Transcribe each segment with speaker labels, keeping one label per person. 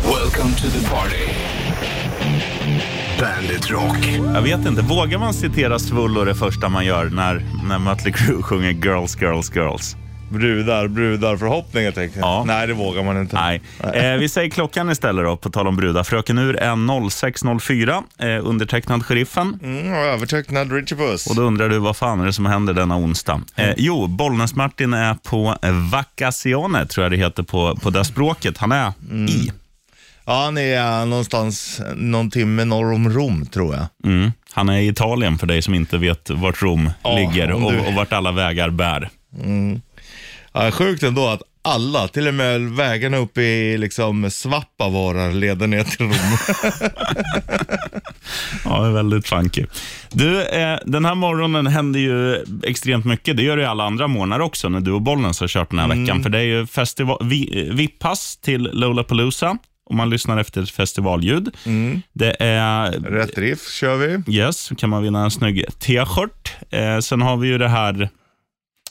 Speaker 1: Welcome to the party. Bandit Rock.
Speaker 2: Jag vet inte, vågar man citera Svullo det första man gör när, när Mötley Crüe sjunger Girls, Girls, Girls?
Speaker 3: Brudar, brudar, förhoppningar tänker jag.
Speaker 2: Ja.
Speaker 3: Nej, det vågar man inte.
Speaker 2: Nej. Eh, vi säger klockan istället då, på tal om brudar. Fröken Ur är 0604, eh, undertecknad Sheriffen.
Speaker 3: Mm, och övertecknad Richie Puss.
Speaker 2: Och då undrar du, vad fan är det som händer denna onsdag?
Speaker 3: Mm.
Speaker 2: Eh, jo, Bollnäs-Martin är på vacazione, tror jag det heter på, på det språket. Han är
Speaker 3: Mm.
Speaker 2: i.
Speaker 3: Ja, han är eh, någonstans eh, någon timme norr om Rom tror jag.
Speaker 2: Mm. Han är i Italien för dig som inte vet vart Rom
Speaker 3: Ja,
Speaker 2: ligger
Speaker 3: om
Speaker 2: och,
Speaker 3: du-
Speaker 2: och vart alla vägar bär.
Speaker 3: Ja, sjukt ändå att alla, till och med vägarna uppe i liksom Svappavaara leder ner till Rom.
Speaker 2: Ja, det är väldigt funky. Du, eh, den här morgonen händer ju extremt mycket. Det gör det ju alla andra morgnar också när du och Bollnäs har kört den här
Speaker 3: Mm.
Speaker 2: veckan. För det är ju festival- vi- eh, VIP-pass till Lollapalooza om man lyssnar efter ett festivalljud.
Speaker 3: Mm.
Speaker 2: Det är
Speaker 3: Rätt riff kör vi.
Speaker 2: Yes, så kan man vinna en snygg t-shirt. Eh, sen har vi ju det här,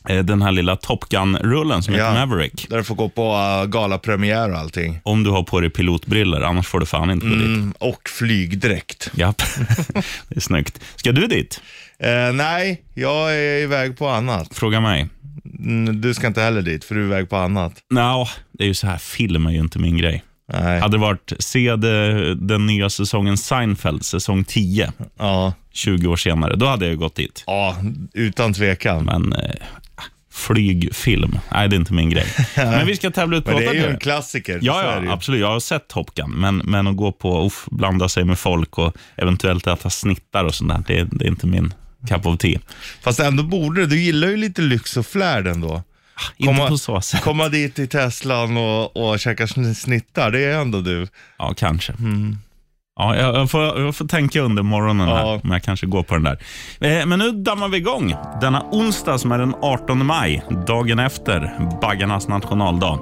Speaker 2: eh, den här lilla Top Gun-rullen som heter
Speaker 3: Ja.
Speaker 2: Maverick.
Speaker 3: Där du får gå på eh, galapremiär och allting.
Speaker 2: Om du har på dig pilotbriller, annars får du fan inte gå dit.
Speaker 3: Mm, och flygdräkt.
Speaker 2: Japp, det är snyggt. Ska du dit?
Speaker 3: Eh, nej, jag är iväg på annat.
Speaker 2: Fråga mig.
Speaker 3: Mm, du ska inte heller dit för du är iväg på annat.
Speaker 2: Nja, det är ju så här, film är ju inte min grej.
Speaker 3: Nej,
Speaker 2: Hade det varit, se det, den nya säsongen Seinfeld, säsong 10,
Speaker 3: ja.
Speaker 2: 20 år senare, då hade jag ju gått dit.
Speaker 3: ja utan tvekan.
Speaker 2: Men eh, flygfilm, nej det är inte min grej. Men vi ska tävla ut
Speaker 3: Men det är
Speaker 2: båtar
Speaker 3: ju
Speaker 2: nu.
Speaker 3: en klassiker. så är
Speaker 2: Ja,
Speaker 3: det
Speaker 2: ja
Speaker 3: ju.
Speaker 2: absolut. Jag har sett Top Gun, men, men att gå på och f- blanda sig med folk och eventuellt äta snittar och sånt där, det, det är inte min cup of tea.
Speaker 3: Fast ändå borde du, du gillar ju lite lyx och flärd ändå.
Speaker 2: Inte
Speaker 3: Komma-
Speaker 2: på så sätt.
Speaker 3: Komma dit i Teslan och, och käka sn- snittar, det är ändå du.
Speaker 2: Ja, kanske. Ja, jag, jag, får, jag får tänka under morgonen här,
Speaker 3: Ja.
Speaker 2: om jag kanske går på den där. Eh, men nu dammar vi igång. Denna onsdag som är den 18 maj, dagen efter baggarnas nationaldag.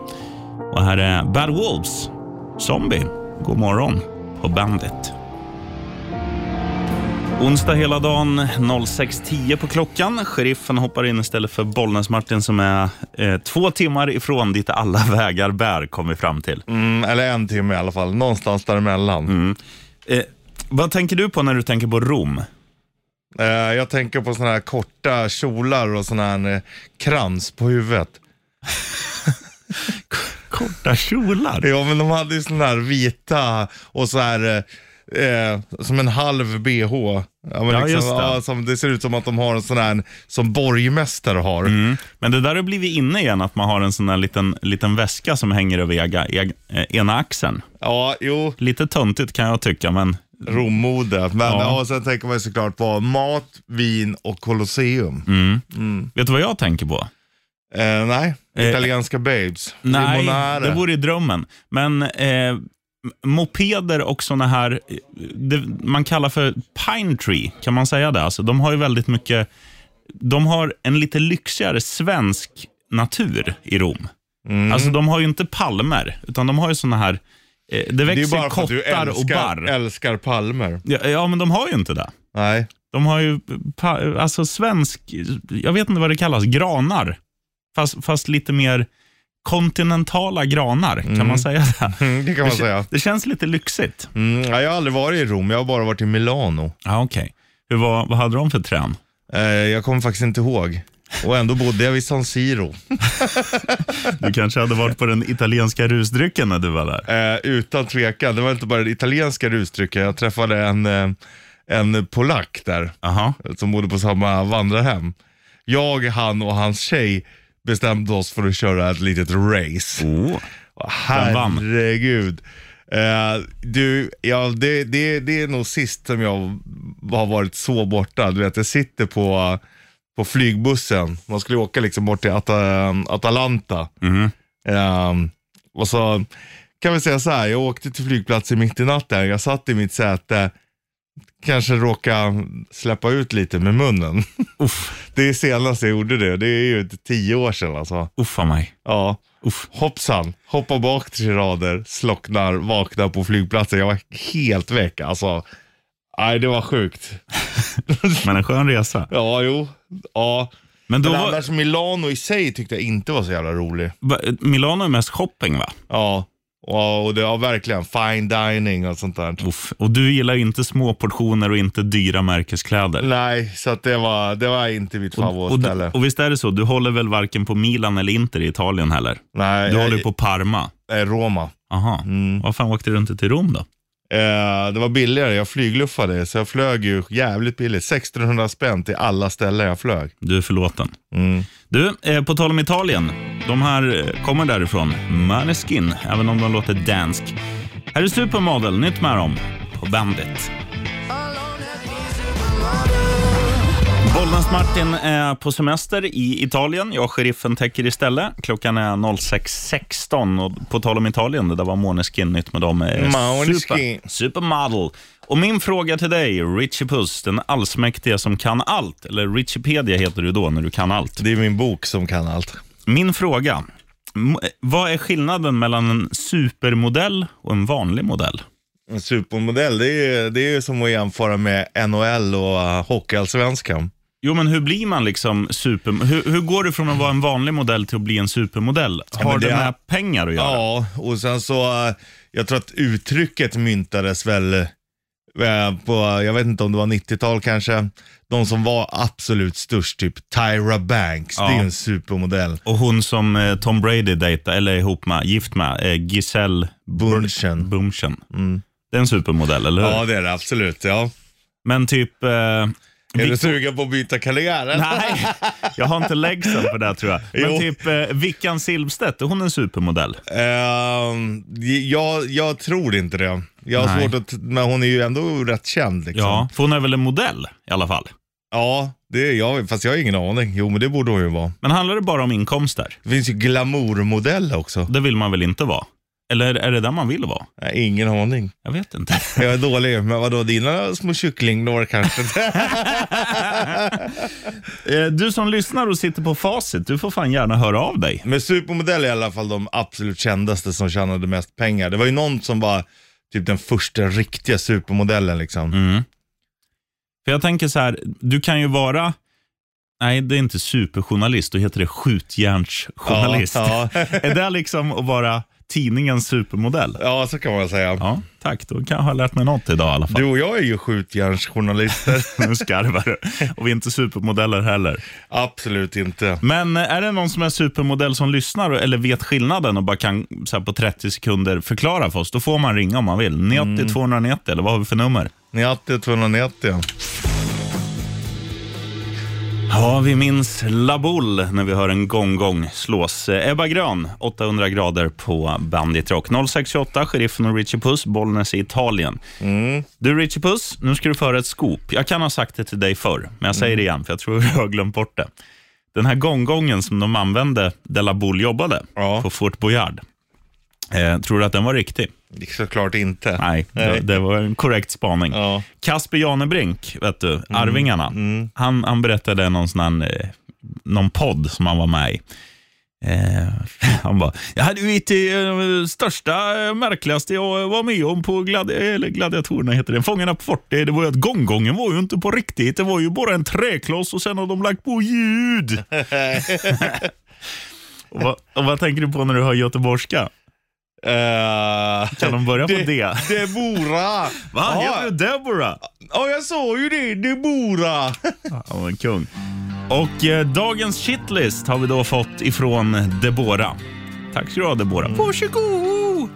Speaker 2: Och här är Bad Wolves, Zombie. God morgon på bandet. Onsdag hela dagen, 06.10 på klockan. Sheriffen hoppar in istället för Bollnäs-Martin som är eh, två timmar ifrån dit alla vägar bär, kom vi fram till.
Speaker 3: Mm, eller en timme i alla fall, någonstans däremellan.
Speaker 2: Eh, vad tänker du på när du tänker på Rom?
Speaker 3: Eh, jag tänker på såna här korta kjolar och sån här eh, krans på huvudet.
Speaker 2: Korta kjolar?
Speaker 3: Ja, men de hade ju sån här vita och så här eh, eh, som en halv bh. Ja, men liksom,
Speaker 2: Ja, just det.
Speaker 3: Ja, som, det ser ut som att de har en sån här som borgmästare har.
Speaker 2: Men det där har blivit inne igen, att man har en sån här liten, liten väska som hänger över ega, eg- eh, ena axeln.
Speaker 3: Ja, jo,
Speaker 2: Lite töntigt kan jag tycka, men
Speaker 3: Rommode. Men
Speaker 2: Ja.
Speaker 3: ja. och sen tänker man ju såklart på mat, vin och Colosseum.
Speaker 2: Mm. vet du vad jag tänker på?
Speaker 3: Eh, nej,
Speaker 2: Eh,
Speaker 3: italienska babes.
Speaker 2: Nej,
Speaker 3: Limonare.
Speaker 2: det vore ju drömmen. Men eh, m- mopeder och såna här, eh, det man kallar för pine tree, kan man säga det? Alltså, de har ju väldigt mycket, de har en lite lyxigare svensk natur i Rom.
Speaker 3: Mm.
Speaker 2: Alltså de har ju inte palmer, utan de har ju såna här, eh, det
Speaker 3: det är ju
Speaker 2: växer
Speaker 3: bara för att du
Speaker 2: kottar och
Speaker 3: älskar,
Speaker 2: barr.
Speaker 3: älskar palmer.
Speaker 2: Ja, ja, men de har ju inte det.
Speaker 3: Nej.
Speaker 2: De har ju pa- alltså svensk, jag vet inte vad det kallas, granar. Fast, fast lite mer kontinentala granar, kan man säga det?
Speaker 3: Mm, det kan man
Speaker 2: det,
Speaker 3: säga.
Speaker 2: det känns lite lyxigt.
Speaker 3: Mm, nej, jag har aldrig varit i Rom, jag har bara varit i Milano.
Speaker 2: Ja, okej. Hur var, vad hade de för trän?
Speaker 3: Eh, jag kommer faktiskt inte ihåg. Och ändå bodde jag vid San Siro.
Speaker 2: Du kanske hade varit på den italienska rusdrycken när du var där.
Speaker 3: Eh, utan tvekan. Det var inte bara det italienska rusdrycken. Jag träffade en, eh, en polack där
Speaker 2: Aha.
Speaker 3: som bodde på samma vandrarhem. Jag, han och hans tjej bestämde oss för att köra ett litet race.
Speaker 2: Oh. Vem vann?
Speaker 3: Herregud. Eh, du, ja, det, det, det är nog sist som jag har varit så borta. Du vet, jag sitter på, på flygbussen. Man skulle åka liksom bort till Ata, Atalanta.
Speaker 2: Mm.
Speaker 3: Ehm, och så kan vi säga så här, jag åkte till flygplatsen mitt i natten. Jag satt i mitt säte, kanske råkade släppa ut lite med munnen.
Speaker 2: Uff,
Speaker 3: Det är senast jag gjorde det. Det är ju inte tio år sedan alltså.
Speaker 2: uffa mig.
Speaker 3: Ja.
Speaker 2: Uff.
Speaker 3: Hoppsan, hoppar bak tre rader, slocknar, vaknar på flygplatsen. Jag var helt väck alltså. Nej, det var sjukt.
Speaker 2: Men en skön resa.
Speaker 3: Ja, jo. Ja.
Speaker 2: Men då
Speaker 3: Men
Speaker 2: var,
Speaker 3: annars Milano i sig tyckte jag inte var så jävla rolig.
Speaker 2: va- Milano är mest shopping, va?
Speaker 3: Ja. Och, och det var verkligen fine dining och sånt där.
Speaker 2: Uff. Och du gillar ju inte små portioner och inte dyra märkeskläder.
Speaker 3: Nej, så att det, var, det var inte mitt
Speaker 2: Och,
Speaker 3: favoritställe.
Speaker 2: och visst är det så, du håller väl varken på Milan eller Inter i Italien heller?
Speaker 3: Nej,
Speaker 2: Du håller
Speaker 3: jag,
Speaker 2: ju på Parma.
Speaker 3: eh, mm. Roma.
Speaker 2: Aha. Vad fan åkte du inte till Rom då?
Speaker 3: Eh, det var billigare, jag flygluffade. Så jag flög ju jävligt billigt. 1600 spänn till alla ställen jag flög.
Speaker 2: Du är förlåten.
Speaker 3: Mm.
Speaker 2: Du, eh, på tal om Italien. De här eh, kommer därifrån. Maneskin, även om de låter dansk. Här är Supermodel, nytt med dem. På Bandit. Bollnäs-Martin är på semester i Italien. Jag och sheriffen täcker istället. Klockan är 06.16 och på tal om Italien, det där var Måneskin nytt med dem. Eh,
Speaker 3: Måneskin.
Speaker 2: Super, supermodel. Och min fråga till dig, Richie Puss, den allsmäktige som kan allt. Eller Richipedia heter du då när du kan allt.
Speaker 3: Det är min bok som kan allt.
Speaker 2: Min fråga. M- Vad är skillnaden mellan en supermodell och en vanlig modell?
Speaker 3: En supermodell, det är ju det är ju som att jämföra med NHL och uh, Hockeyallsvenskan.
Speaker 2: Jo, men hur blir man liksom super... Hur, hur går det från att vara en vanlig modell till att bli en supermodell? Har
Speaker 3: men
Speaker 2: det,
Speaker 3: det är-
Speaker 2: med pengar att göra?
Speaker 3: Ja, och sen så, eh, jag tror att uttrycket myntades väl eh, på, eh, jag vet inte om det var 90-tal kanske. De som var absolut störst, typ Tyra Banks, det är ju en supermodell.
Speaker 2: Och hon som eh, Tom Brady dejtar, eller är ihop med, gift med, eh, Giselle
Speaker 3: Bunchen.
Speaker 2: Bumchen. Det är en supermodell, eller hur?
Speaker 3: Mm. Ja, det är det absolut. Ja.
Speaker 2: Men typ... Eh,
Speaker 3: Är du
Speaker 2: Vic-
Speaker 3: sugen på att byta karriär? eller?
Speaker 2: Nej, jag har inte läxan för det här, tror jag. Men
Speaker 3: Jo.
Speaker 2: typ eh, Vickan Silvstedt, är hon en supermodell?
Speaker 3: Ehm, jag, jag tror inte det. Jag har
Speaker 2: Nej.
Speaker 3: svårt att, men hon är ju ändå rätt känd. Liksom.
Speaker 2: Ja, för hon är väl en modell i alla fall?
Speaker 3: Ja, det är jag, fast jag har ingen aning. Jo, men det borde hon ju vara.
Speaker 2: Men handlar det bara om inkomster?
Speaker 3: Det finns ju glamourmodell också.
Speaker 2: Det vill man väl inte vara? Eller är det där man vill vara?
Speaker 3: Nej, ingen aning.
Speaker 2: Jag vet inte.
Speaker 3: Jag är dålig, men vadå, dina små kycklinglår kanske?
Speaker 2: Eh, Du som lyssnar och sitter på facit, du får fan gärna höra av dig.
Speaker 3: men supermodell är i alla fall de absolut kändaste som tjänade mest pengar. Det var ju någon som var typ den första riktiga supermodellen liksom.
Speaker 2: Mm. För jag tänker så här, du kan ju vara... Nej, det är inte superjournalist, då heter det skjutjärnsjournalist.
Speaker 3: Ja, ja.
Speaker 2: är det liksom att vara tidningens supermodell?
Speaker 3: ja, så kan man säga.
Speaker 2: Ja, tack. Då kan jag ha lärt mig något idag i alla fall.
Speaker 3: Du och jag är ju skjutjärnsjournalister.
Speaker 2: Nu skarvar du. Och vi är inte supermodeller heller.
Speaker 3: absolut inte.
Speaker 2: Men eh, är det någon som är supermodell som lyssnar och- eller vet skillnaden och bara kan så här, på 30 sekunder förklara för oss, då får man ringa om man vill. 90 290, eller vad har vi för nummer?
Speaker 3: Ni har alltid 290.
Speaker 2: Ja, vi minns La Boule när vi hör en gong-gong slås. Eh, Ebba Grön, 800 grader på Bandit Rock. 0628, Sheriffen och Richie Puss, Bollnäs i Italien.
Speaker 3: Mm.
Speaker 2: Du Richie Puss, nu ska du föra ett scoop. Jag kan ha sagt det till dig förr, men jag
Speaker 3: Mm.
Speaker 2: säger det igen för jag tror jag har glömt bort det. Den här gonggongen som de använde där La Boule jobbade
Speaker 3: Ja.
Speaker 2: på Fort Boyard. Eh, tror du att den var riktig?
Speaker 3: Såklart inte.
Speaker 2: Nej, Det, det var en korrekt spaning.
Speaker 3: Ja.
Speaker 2: Kasper Janebrink, vet
Speaker 3: Mm,
Speaker 2: du, Arvingarna. Han, han berättade någon, sån här, eh, någon podd som han var med i. Eh, han bara, jag hade ju det eh, största, eh, märkligaste jag var med om på gladi eller gladiatorerna, heter det. Fångarna på fortet, det var ju att gånggången var ju inte på riktigt. Det var ju bara en träkloss och sen har de lagt på ljud. och, vad, och vad tänker du på när du hör göteborgska?
Speaker 3: Eh,
Speaker 2: Kan de börja på
Speaker 3: det-
Speaker 2: det?
Speaker 3: Deborah!
Speaker 2: Va,
Speaker 3: Ja.
Speaker 2: heter du Deborah?
Speaker 3: Ja, jag sa ju det. Deborah.
Speaker 2: Han var en kung. Och eh, dagens shitlist har vi då fått ifrån Deborah. Tack ska du ha Deborah. Varsågod!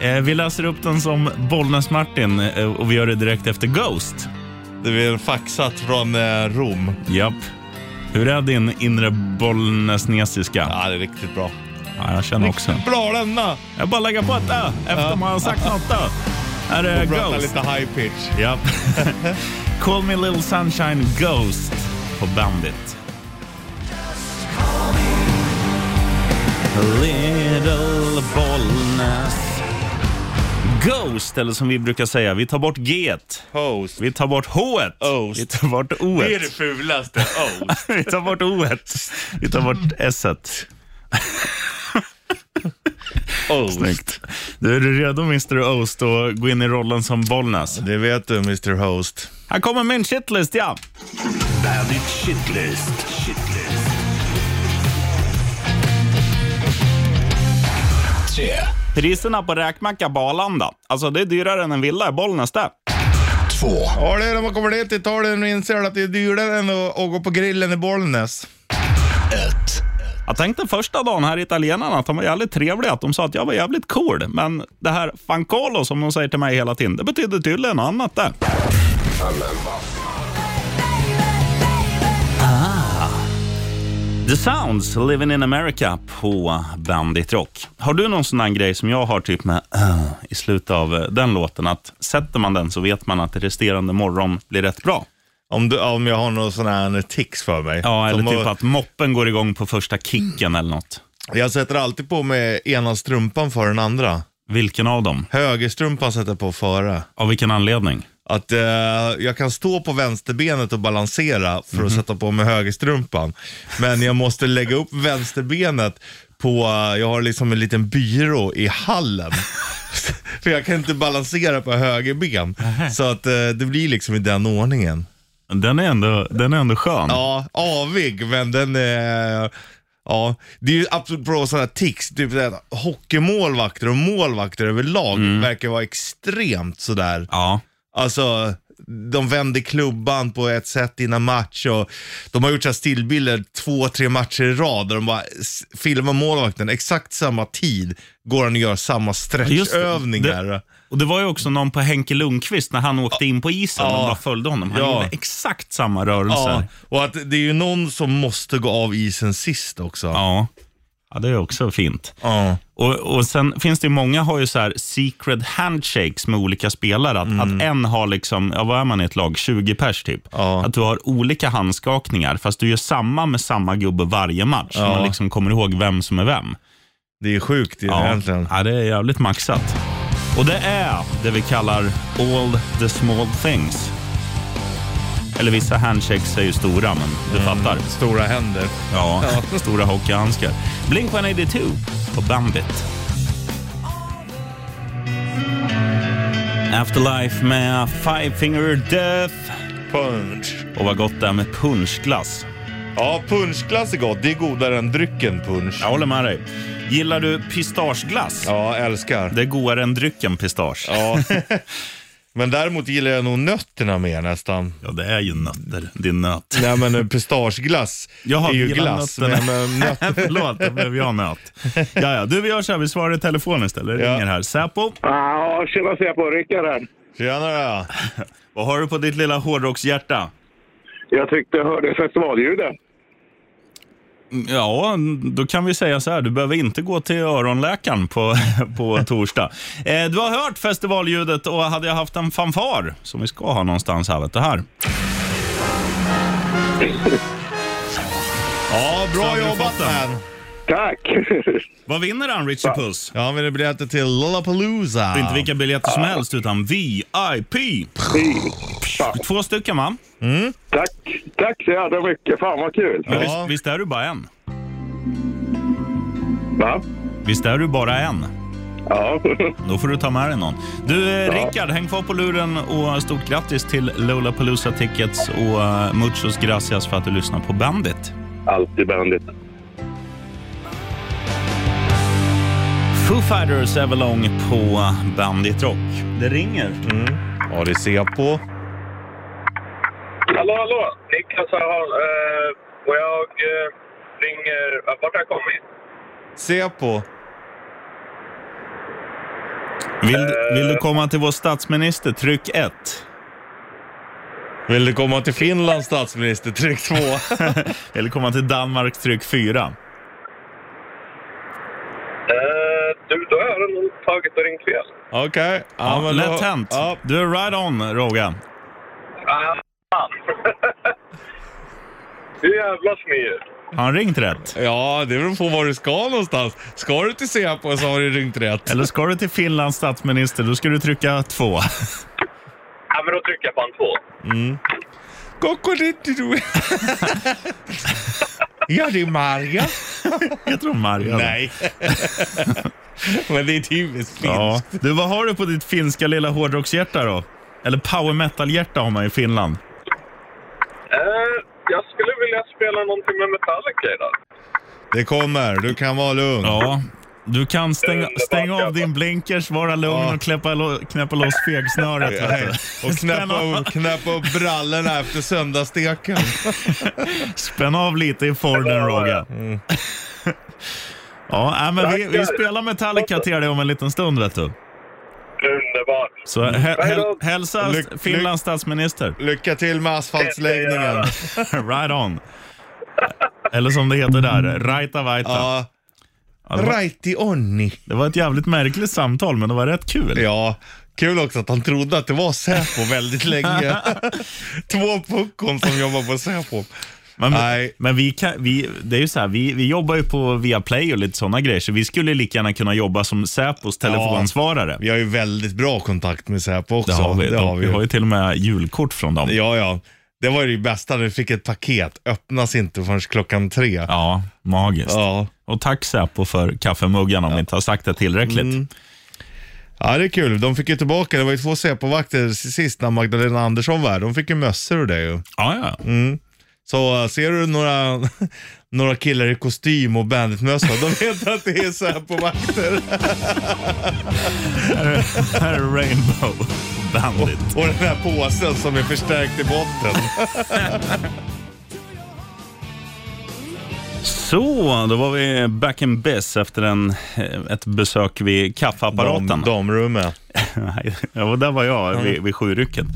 Speaker 2: Eh, vi läser upp den som Bollnäs-Martin eh, och vi gör det direkt efter Ghost.
Speaker 3: Det är en faxat från eh, Rom.
Speaker 2: Japp. Hur är din inre bollnäsnesiska? Ja.
Speaker 3: Ja, det är riktigt bra.
Speaker 2: jag känner också.
Speaker 3: Bra denna!
Speaker 2: Jag bara lägger på ett ä efter man har sagt något ä. Här är
Speaker 3: Prata
Speaker 2: Ghost.
Speaker 3: lite high pitch.
Speaker 2: Japp. Call me little sunshine ghost på Bandit. Little Bollnäs. Ghost, eller som vi brukar säga, vi tar bort G.
Speaker 3: Host.
Speaker 2: Vi tar bort H.
Speaker 3: Ost.
Speaker 2: Vi tar bort O.
Speaker 3: Det är det fulaste. Host.
Speaker 2: Vi tar bort O. Vi tar bort S.
Speaker 3: Host.
Speaker 2: Snyggt. Du, är du redo Mr. Oast att gå in i rollen som Bollnäs?
Speaker 3: Det vet du, Mr Host.
Speaker 2: Här kommer min shitlist, ja.
Speaker 1: Bandit Shitlist. Shitlist. Tre,
Speaker 2: Priserna på räkmacka på Arlanda, alltså det är dyrare än en villa i Bollnäs det.
Speaker 1: två,
Speaker 3: Ja, det är när man kommer ner till Italien och inser att det är dyrare än att, att gå på grillen i Bollnäs.
Speaker 1: ett,
Speaker 2: Jag tänkte första dagen här italienarna att de var jävligt trevliga, att de sa att jag var jävligt cool. Men det här fancolo som de säger till mig hela tiden, det betyder tydligen något annat det. Ah. The Sounds, Living in America på Bandit Rock. Har du någon sån här grej som jag har typ med "Ah", i slutet av eh, den låten? Att sätter man den så vet man att det resterande morgon blir rätt bra.
Speaker 3: Om, du, om jag har någon sån här tics för mig.
Speaker 2: Ja, eller
Speaker 3: Som
Speaker 2: typ
Speaker 3: att-
Speaker 2: att moppen går igång på första kicken eller något.
Speaker 3: Jag sätter alltid på mig ena strumpan före den andra.
Speaker 2: Vilken av dem?
Speaker 3: Högerstrumpan sätter jag på före.
Speaker 2: Av vilken anledning?
Speaker 3: Att eh, jag kan stå på vänsterbenet och balansera för att sätta på mig högerstrumpan. Men jag måste lägga upp vänsterbenet på, eh, jag har liksom en liten byrå i hallen. för jag kan inte balansera på högerben. Så att eh, det blir liksom i den ordningen.
Speaker 2: Den är ändå, den är ändå skön.
Speaker 3: Ja, avig, men den är... Ja, det är ju absolut bra sådana tics. Typ det här, hockeymålvakter och målvakter överlag
Speaker 2: Mm.
Speaker 3: verkar vara extremt sådär.
Speaker 2: Ja.
Speaker 3: Alltså, de vänder klubban på ett sätt innan match och de har gjort så här stillbilder två, tre matcher i rad där de bara s- filmar målvakten exakt samma tid. Går han och gör samma
Speaker 2: Just det.
Speaker 3: stretchövningar.
Speaker 2: Och Det var ju också någon på Henke Lundqvist när han åkte in på isen och bara följde honom. Han
Speaker 3: Ja.
Speaker 2: gjorde exakt samma rörelser.
Speaker 3: Ja,
Speaker 2: Ja.
Speaker 3: och att det är ju någon som måste gå av isen sist också.
Speaker 2: Ja. det är också fint.
Speaker 3: Ja.
Speaker 2: Och, och Sen finns det ju många har ju så här secret handshakes med olika spelare. Att,
Speaker 3: Mm.
Speaker 2: att en har, liksom, ja, vad är man i ett lag, 20 pers typ.
Speaker 3: Ja.
Speaker 2: Att du har olika handskakningar, fast du gör samma med samma gubbe varje match. Så man liksom kommer ihåg vem som är vem.
Speaker 3: Det är sjukt
Speaker 2: Ja.
Speaker 3: egentligen.
Speaker 2: Ja, det är jävligt maxat. Och det är det vi kallar all the small things. Eller vissa handshakes är ju stora, men du
Speaker 3: Mm.
Speaker 2: fattar.
Speaker 3: Stora händer.
Speaker 2: Ja, stora hockeyhandskar. Blink 182 på Bandit. Afterlife med Five Finger Death.
Speaker 3: Punch.
Speaker 2: Och vad gott det är med punschglass.
Speaker 3: Ja, punschglass är gott. Det är godare än drycken punsch.
Speaker 2: Jag håller med dig. Gillar du pistageglass?
Speaker 3: Ja, älskar.
Speaker 2: Det är godare än drycken pistage.
Speaker 3: Ja. Men däremot gillar jag nog nötterna mer nästan.
Speaker 2: Ja, det är ju nötter. Det är nöt.
Speaker 3: Nej men eh, pistageglass
Speaker 2: Jaha,
Speaker 3: är ju
Speaker 2: gillar
Speaker 3: glass.
Speaker 2: nötterna.
Speaker 3: Men, men, eh, nöt...
Speaker 2: Förlåt, då blev jag nöt. Ja, ja. Du, vi gör så här. Vi svarar i telefon istället. Det
Speaker 3: Ja.
Speaker 2: ringer här. Säpo,
Speaker 4: Ja, tjena Säpo, Rickard här.
Speaker 3: Tjenare.
Speaker 2: vad har du på ditt lilla hårdrockshjärta?
Speaker 4: Jag tyckte jag hörde festivalljudet.
Speaker 2: Ja, då kan vi säga så här. Du behöver inte gå till öronläkaren på, på torsdag. Eh, du har hört festivalljudet och hade jag haft en fanfar, som vi ska ha någonstans här, vet du här.
Speaker 3: Ja, bra
Speaker 2: du
Speaker 3: jobbat
Speaker 2: fått den?
Speaker 3: man.
Speaker 4: Tack!
Speaker 2: Vad vinner han, Richie Puss?
Speaker 3: Ja, men det blir biljetter till Lollapalooza.
Speaker 2: Det är Inte vilka biljetter som helst, utan VIP. Två stycken, va?
Speaker 4: Tack, tack så jävla mycket. Fan vad kul!
Speaker 2: Men
Speaker 3: Ja.
Speaker 2: Visst, visst är du bara en?
Speaker 4: Va?
Speaker 2: Visst är du bara en?
Speaker 4: Ja.
Speaker 2: Då får du ta med dig någon. Du, eh, Rickard, häng kvar på luren och stort grattis till Lollapalooza Tickets och eh, muchos gracias för att du lyssnar på Bandit.
Speaker 4: Alltid bandit.
Speaker 2: Foo Fighters Everlong på Bandit Rock. Det ringer.
Speaker 3: Ja, det ser jag på.
Speaker 4: Hallå, hallå! Niklas här. eh, och jag eh, ringer... ja, Vart har jag kommit?
Speaker 3: Se på.
Speaker 2: Vill, vill du komma till vår statsminister? Tryck 1.
Speaker 3: Vill du komma till Finland statsminister? Tryck två.
Speaker 2: Eller komma till Danmark? Tryck 4.
Speaker 4: Eh, du, då har jag nog tagit och ringt fel.
Speaker 3: Okej. Ja,
Speaker 2: Ja,
Speaker 3: men
Speaker 2: lätt
Speaker 3: då-
Speaker 2: hänt.
Speaker 3: Ja.
Speaker 2: Du är right on, Rogan.
Speaker 4: Ah, fan! Du jävla smiger.
Speaker 2: Har han ringt rätt?
Speaker 3: Ja, det beror på var du ska någonstans. Ska du till Säpo så har du ringt rätt.
Speaker 2: Eller ska du till Finlands statsminister, då ska du trycka 2.
Speaker 4: Ja, men då trycker jag på en två.
Speaker 3: Kokonitidu. ja, det är Marja.
Speaker 2: Heter hon Marja?
Speaker 3: Nej. Men det är typiskt finskt.
Speaker 2: Ja. Du, vad har du på ditt finska lilla hårdrockshjärta då? Eller power metal-hjärta har man i Finland.
Speaker 4: Eh, jag skulle vilja spela någonting med Metallica idag.
Speaker 3: Det kommer, du kan vara lugn.
Speaker 2: Ja, Du kan stänga, stänga av din blinkers, vara lugn
Speaker 3: Ja.
Speaker 2: och knäppa, lo, knäppa loss fegsnöret.
Speaker 3: Nej,
Speaker 2: vet du.
Speaker 3: Och
Speaker 2: Spänn
Speaker 3: knäppa
Speaker 2: av,
Speaker 3: upp, knäppa upp brallorna efter söndagssteken.
Speaker 2: spänn av lite i Forden, Roger. Ja, nej, men vi, vi
Speaker 4: Mm. Tackar.
Speaker 2: spelar Metallica till dig om en liten stund, vet du.
Speaker 4: Underbart.
Speaker 2: Så hä-
Speaker 4: Mm. Hej
Speaker 2: häl,
Speaker 4: då.
Speaker 2: hälsa
Speaker 3: Lyck- lyck-
Speaker 2: Finlands statsminister.
Speaker 3: Lycka till med asfaltsläggningen.
Speaker 2: right on. Eller som det heter där, Raita Vaita.
Speaker 3: Ja,
Speaker 2: Ja, det, var,
Speaker 3: righty onni.
Speaker 2: det var ett jävligt märkligt samtal, men det var rätt kul.
Speaker 3: Ja, kul också att han trodde att det var Säpo väldigt länge. Två puckon som jobbar på Säpo.
Speaker 2: Men,
Speaker 3: Nej.
Speaker 2: men vi, kan, vi, det är ju så här, vi, vi jobbar ju på Viaplay och lite sådana grejer, så vi skulle lika gärna kunna jobba som Säpos telefonsvarare.
Speaker 3: Vi har ju väldigt bra kontakt med Säpo också.
Speaker 2: det har vi. De, vi
Speaker 3: ju.
Speaker 2: har ju till och med julkort från dem.
Speaker 3: Ja, ja. Det var ju det bästa när vi fick ett paket. Öppnas inte förrän klockan tre. Ja.
Speaker 2: Ja, magiskt.
Speaker 3: Ja,
Speaker 2: Och tack Säpo för kaffemuggarna om vi inte har sagt det tillräckligt.
Speaker 3: det är kul. De fick ju tillbaka, det var ju två Säpo-vakter sist när Magdalena Andersson var här. De fick ju mössor och det ju.
Speaker 2: Ja, ja.
Speaker 3: Så äh, ser du några, några killar i kostym och banditmössa, de vet att det är Säpo-vakter.
Speaker 2: Här är Rainbow Bandit.
Speaker 3: Och den här påsen som är förstärkt i botten.
Speaker 2: Så, då var vi back in biz efter en, eh, ett besök vid kaffeapparaten.
Speaker 3: Dam, damrummet.
Speaker 2: Nej, ja, och där var jag vid, vid sjurycket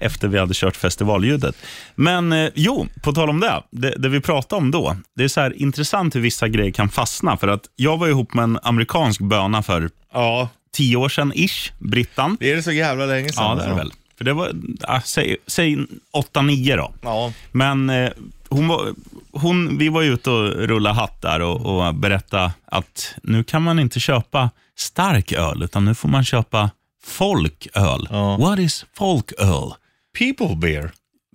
Speaker 2: efter vi hade kört festivalljudet. Men eh, jo, på tal om det, det, det vi pratade om då. Det är så här intressant hur vissa grejer kan fastna. För att jag var ihop med en amerikansk böna för
Speaker 3: Ja,
Speaker 2: tio år sedan, ish, Brittan.
Speaker 3: det är det så jävla länge sedan.
Speaker 2: Ja, det är det väl. För det var, ah, säg, säg 8-9 då.
Speaker 3: Ja.
Speaker 2: Men eh, hon var, hon, vi var ute och rullade hatt där och, och berättade att nu kan man inte köpa stark öl, utan nu får man köpa folköl.
Speaker 3: Ja.
Speaker 2: What is folköl?
Speaker 3: People beer.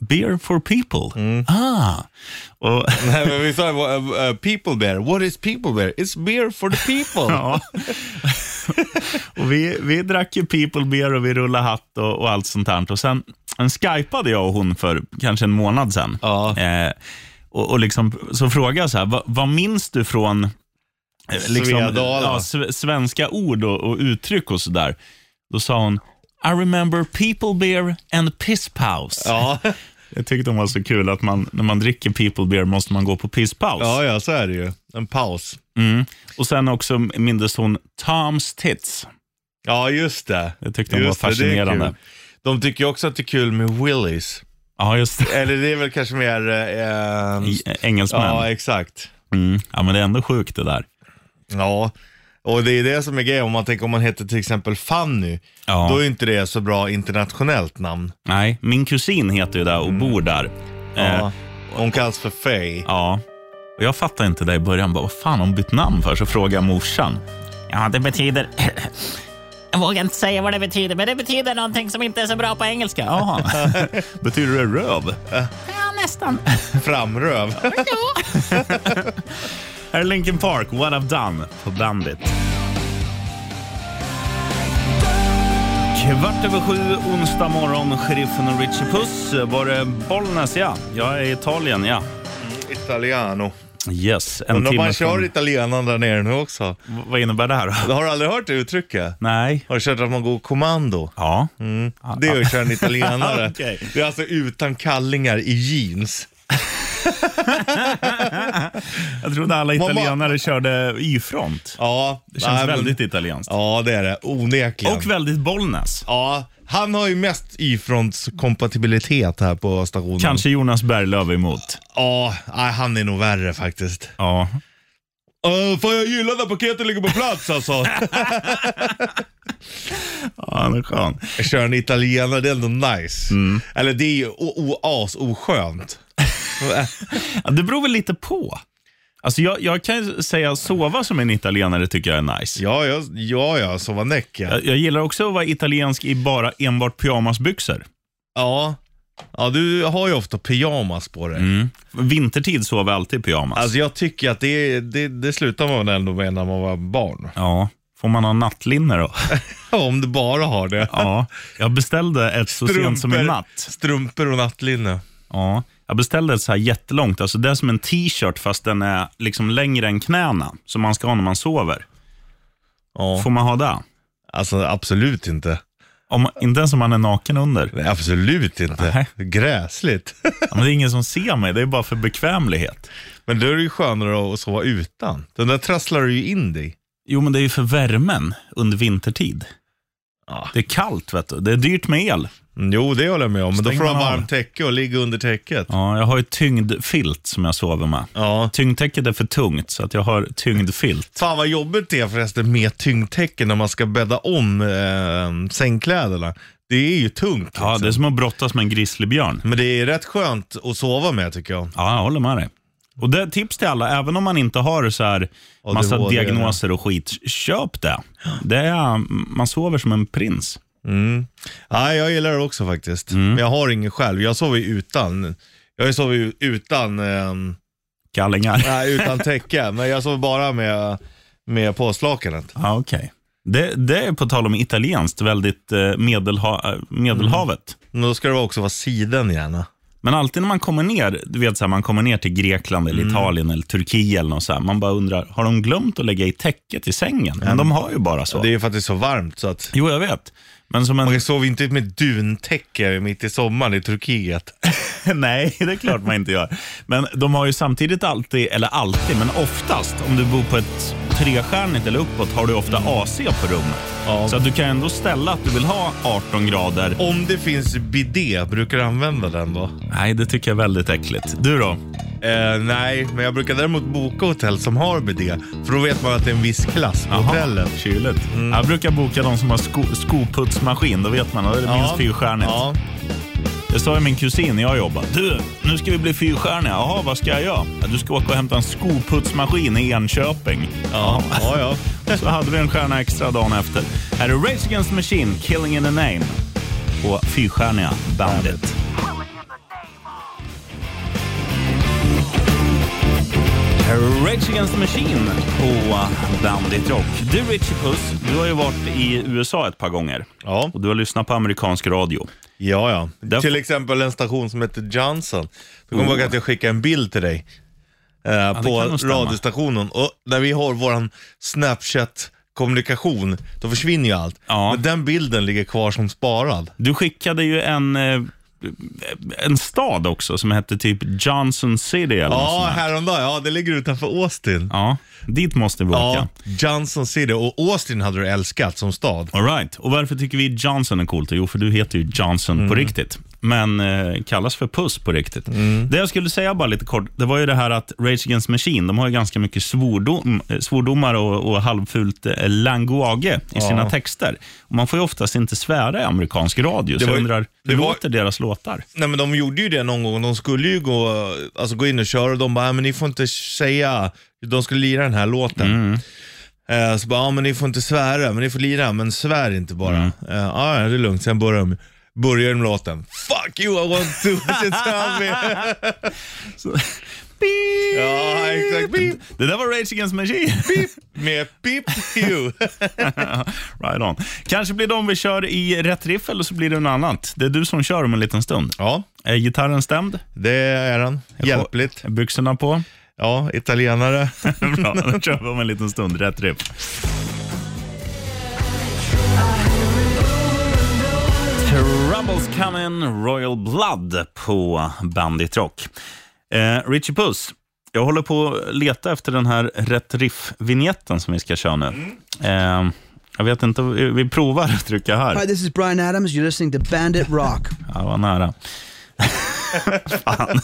Speaker 2: Beer for people.
Speaker 3: Mm.
Speaker 2: Ah. Och,
Speaker 3: Nej, men vi sa eh, eh, people beer. What is people beer? It's beer for the people.
Speaker 2: ja. och vi, vi drack ju people beer och vi rullade hatt och, och allt sånt här. Och sen, sen skypade jag och hon för kanske en månad sedan.
Speaker 3: Ja.
Speaker 2: Eh, och, och liksom, så frågade jag så här, vad, vad minns du från eh, liksom,
Speaker 3: Svedala.
Speaker 2: ja, sve- svenska ord och, och uttryck och sådär? Då sa hon, I remember people beer and pisspaus.
Speaker 3: Ja.
Speaker 2: Jag tyckte de var så kul att man, när man dricker people beer måste man gå på pisspaus.
Speaker 3: ja, ja, så är det ju. En paus.
Speaker 2: Och sen också mindes hon Toms tits.
Speaker 3: Ja, just det.
Speaker 2: Jag tyckte de
Speaker 3: Just
Speaker 2: var
Speaker 3: det, det är
Speaker 2: fascinerande.
Speaker 3: kul. De tycker ju också att det är kul med Willys.
Speaker 2: Ja, just det.
Speaker 3: Eller det är väl kanske mer... Eh,
Speaker 2: I- Engelsmän.
Speaker 3: ja,
Speaker 2: Ja,
Speaker 3: exakt.
Speaker 2: mm. ja, men det är ändå sjukt det där.
Speaker 3: Ja, och det är det som är grejen. Om man tänker om man heter till exempel Fanny,
Speaker 2: Ja.
Speaker 3: då är inte det så bra internationellt namn.
Speaker 2: Nej, min kusin heter ju det och bor där. Eh,
Speaker 3: Ja. Hon kallas för Faye.
Speaker 2: Ja. Och jag fattade inte det i början. Bara, vad fan har hon bytt namn för? Så frågade jag morsan.
Speaker 5: Ja, det betyder... Jag vågar inte säga vad det betyder, men det betyder någonting som inte är så bra på engelska.
Speaker 2: Jaha, betyder det röv?
Speaker 5: Ja, nästan.
Speaker 3: Framröv.
Speaker 2: Här är Linkin Park, What I've Done på Bandit. Kvart över sju, onsdag morgon, sheriffen och Richie Puss. Var det Bollnäs, ja? Jag är i Italien, ja.
Speaker 3: Italiano.
Speaker 2: Yes, en
Speaker 3: Undrar om man
Speaker 2: timme
Speaker 3: kör
Speaker 2: från...
Speaker 3: italienaren där nere nu också.
Speaker 2: Vad innebär det här då?
Speaker 3: Har du aldrig hört det uttrycket?
Speaker 2: Nej.
Speaker 3: Har du kört att man går kommando?
Speaker 2: Ja.
Speaker 3: Det är att köra en italienare.
Speaker 2: Okej.
Speaker 3: Det är alltså utan kallingar i jeans.
Speaker 2: Jag trodde alla
Speaker 3: Mamma-
Speaker 2: italienare körde Y-front.
Speaker 3: Ja,
Speaker 2: Det känns
Speaker 3: nej, men-
Speaker 2: väldigt italienskt.
Speaker 3: Ja, det är det. Onekligen.
Speaker 2: Och väldigt Bollnäs.
Speaker 3: Ja, han har ju mest Y-fronts kompatibilitet här på stationen.
Speaker 2: Kanske Jonas Berglöf emot.
Speaker 3: Ja, nej, han är nog värre faktiskt.
Speaker 2: Ja.
Speaker 3: Uh, fan, jag gillar när paketet ligger på plats alltså.
Speaker 2: ja, han är skön.
Speaker 3: jag kör en italienare, det är ändå nice.
Speaker 2: Mm.
Speaker 3: Eller det är ju o- o- as oskönt.
Speaker 2: Ja, det beror väl lite på. Alltså jag, jag kan ju säga sova som en italienare tycker jag är nice.
Speaker 3: Ja, ja, ja, ja så var näck ja.
Speaker 2: Jag, jag gillar också att vara italiensk i bara enbart pyjamasbyxor.
Speaker 3: ja. Ja, du har ju ofta pyjamas på dig.
Speaker 2: Mm. Vintertid sover jag alltid i pyjamas.
Speaker 3: Alltså jag tycker att det, är- det, det slutar man väl ändå med när man var barn.
Speaker 2: ja. Får man ha nattlinne då?
Speaker 3: Om du bara har det.
Speaker 2: Ja, jag beställde ett så sent som i natt.
Speaker 3: strumpor och nattlinne.
Speaker 2: Ja, jag beställde ett så här jättelångt, alltså det är som en t-shirt fast den är liksom längre än knäna, som man ska ha när man sover.
Speaker 3: Ja.
Speaker 2: Får man ha det?
Speaker 3: Alltså absolut inte.
Speaker 2: Om, inte ens om man är naken under.
Speaker 3: Nej, absolut inte.
Speaker 2: Nej.
Speaker 3: Gräsligt.
Speaker 2: Ja, Men det är ingen som ser mig, det är bara för bekvämlighet.
Speaker 3: Men då är det ju skönare att sova utan. Den där trasslar du ju in dig.
Speaker 2: Jo, men det är ju för värmen under vintertid.
Speaker 3: Ja.
Speaker 2: Det är kallt, vet du. Det är dyrt med el.
Speaker 3: Mm, Jo, det håller jag med om. Men då
Speaker 2: Stäng
Speaker 3: får du ha
Speaker 2: man av.
Speaker 3: varmt täcke och ligga under täcket.
Speaker 2: Ja, jag har ju tyngdfilt som jag sover med.
Speaker 3: Ja.
Speaker 2: Tyngdtäcket är för tungt, så att jag har tyngdfilt.
Speaker 3: Fan vad jobbigt det är förresten med tyngdtäcken när man ska bädda om eh, sängkläderna. Det är ju tungt. liksom.
Speaker 2: Ja, det är som att brottas med en grizzlybjörn.
Speaker 3: Men det är rätt skönt att sova med tycker jag.
Speaker 2: Ja, jag håller med dig. Och det är ett tips till alla, även om man inte har så här massa
Speaker 3: ADHD,
Speaker 2: diagnoser och skit, köp det. det är, man sover som en prins.
Speaker 3: Ja, jag gillar det också faktiskt.
Speaker 2: Mm.
Speaker 3: Men jag har ingen själv. Jag sover ju utan. Jag har ju sovit utan, eh,
Speaker 2: Kallingar.
Speaker 3: nej, utan täcke. Men jag sover bara med, med påslakanet.
Speaker 2: Ja, okej. Det, det är på tal om italienskt, väldigt eh, medelha, eh, Medelhavet.
Speaker 3: Men då ska det också vara siden gärna.
Speaker 2: Men alltid när man kommer ner, du vet så här, man kommer ner till Grekland eller Italien eller Turkiet eller något så här, man bara undrar, har de glömt att lägga i täcket i sängen? Men de har ju bara så.
Speaker 3: Det är ju för att det är så varmt så att
Speaker 2: Jo, jag vet. Men som en...
Speaker 3: man sover inte med duntäcke mitt i sommaren i Turkiet.
Speaker 2: Nej, det är klart man inte gör. Men de har ju samtidigt alltid, eller alltid, men oftast, om du bor på ett trestjärnigt eller uppåt, har du ofta AC på rummet.
Speaker 3: Ja.
Speaker 2: Så att du kan ändå ställa att du vill ha 18 grader.
Speaker 3: Om det finns bidé, brukar du använda den då?
Speaker 2: Nej, det tycker jag är väldigt äckligt. Du då?
Speaker 3: Eh, nej, men jag brukar däremot boka hotell som har bidé. För då vet man att det är en viss klass på hotellet.
Speaker 2: Kyligt.
Speaker 3: Mm.
Speaker 2: Jag brukar boka de som har sko skoputsmaskin. Då vet man, då är det minst fyrstjärnigt.
Speaker 3: Ja.
Speaker 2: Det sa ju min kusin jag jobbar. Du, nu ska vi bli fyrstjärniga. Jaha, vad ska jag göra? "Ja, Du ska åka och hämta en skoputsmaskin i Enköping.
Speaker 3: Ja, ja, ja.
Speaker 2: Så hade vi en stjärna extra dagen efter. Här är Rage Against the Machine, Killing in the Name på fyrstjärniga bandet. Rage Against the Machine på Bandit Rock. Du Richie Puss, du har ju varit i USA ett par gånger
Speaker 3: Ja,
Speaker 2: och du har lyssnat på amerikansk radio.
Speaker 3: ja. ja.
Speaker 2: Där-
Speaker 3: Till exempel en station som heter Johnson. Du kommer ihåg att jag skickade en bild till dig. Eh, på
Speaker 2: kan nog stämma.
Speaker 3: radiostationen. Och när vi har våran Snapchat-kommunikation, då försvinner ju allt.
Speaker 2: Ja.
Speaker 3: Men den bilden ligger kvar som sparad.
Speaker 2: Du skickade ju en, eh, en stad också som hette typ Johnson City eller något
Speaker 3: Ja,
Speaker 2: sånt där.
Speaker 3: häromdagen. Ja, det ligger utanför Austin.
Speaker 2: Ja, dit måste vi åka.
Speaker 3: Ja, Johnson City. Och Austin hade du älskat som stad.
Speaker 2: All right. Och varför tycker vi Johnson är coolt? Jo, för du heter ju Johnson på
Speaker 3: Mm.
Speaker 2: riktigt. Men eh, kallas för Puss på riktigt.
Speaker 3: Mm.
Speaker 2: Det jag skulle säga bara lite kort, det var ju det här att Rage Against the Machine, de har ju ganska mycket svordom, eh, svordomar och, och halvfult eh, language i sina texter. Och man får ju oftast inte svära i amerikansk radio, så
Speaker 3: var
Speaker 2: jag
Speaker 3: ju-
Speaker 2: undrar,
Speaker 3: det
Speaker 2: hur
Speaker 3: var-
Speaker 2: låter deras låtar?
Speaker 3: Nej men de gjorde ju det någon gång. De skulle ju gå, alltså, gå in och köra och de bara, "Ja, men ni får inte säga, de skulle lira den här låten. Eh, Så bara, ja men ni får inte svära, men ni får lira, men svär inte bara. Eh, Ja, ja, det är lugnt. Sen börjar de, börjar de med låten. Fuck you, I want to tell me. ja, exakt. Beep,
Speaker 2: Det där var Rage Against the Machine.
Speaker 3: beep, med beep you.
Speaker 2: right on. Kanske blir de vi kör i rätt riff, eller så blir det något annat. Det är du som kör om en liten stund.
Speaker 3: ja,
Speaker 2: Är gitarren stämd?
Speaker 3: det är den. Hjälpligt.
Speaker 2: Och Byxorna på?
Speaker 3: Ja, italienare.
Speaker 2: Bra, då kör vi om en liten stund. Rätt riff. Troubles Coming, Royal Blood på Bandit Rock. Eh, Richie Puss, jag håller på att leta efter den här Rätt Riff-vinjetten som vi ska köra nu. Eh, jag vet inte, vi vi provar att trycka här.
Speaker 6: Hi, this is Brian Adams. You're listening to Bandit Rock.
Speaker 2: Ja, var nära. Fan.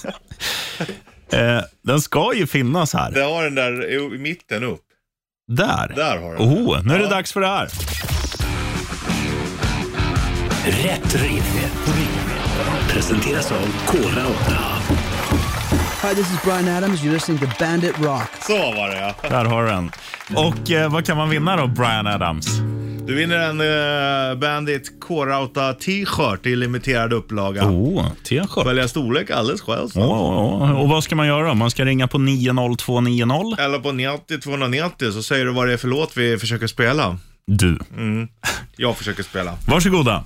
Speaker 2: Eh, den ska ju finnas här.
Speaker 3: Det har den där i mitten upp.
Speaker 2: Där.
Speaker 3: Där har den.
Speaker 2: Oh, nu är det dags för det här.
Speaker 1: Rätt riff. Presenteras av Kora 8.
Speaker 6: Hi, this is Brian Adams. You're listening to Bandit Rock.
Speaker 3: Så var det ja.
Speaker 2: Där har du den. Och eh, vad kan man vinna då, Brian Adams?
Speaker 3: Du vinner en eh, Bandit K-Rauta t-shirt i limiterad upplaga.
Speaker 2: Oh, t-shirt.
Speaker 3: Välja storlek alldeles själv. så.
Speaker 2: Oh, oh. Och vad ska man göra? Man ska ringa på 90290.
Speaker 3: Eller på 90 290 så säger du vad det är för låt vi försöker spela.
Speaker 2: Du,
Speaker 3: Jag försöker spela.
Speaker 2: varsågoda.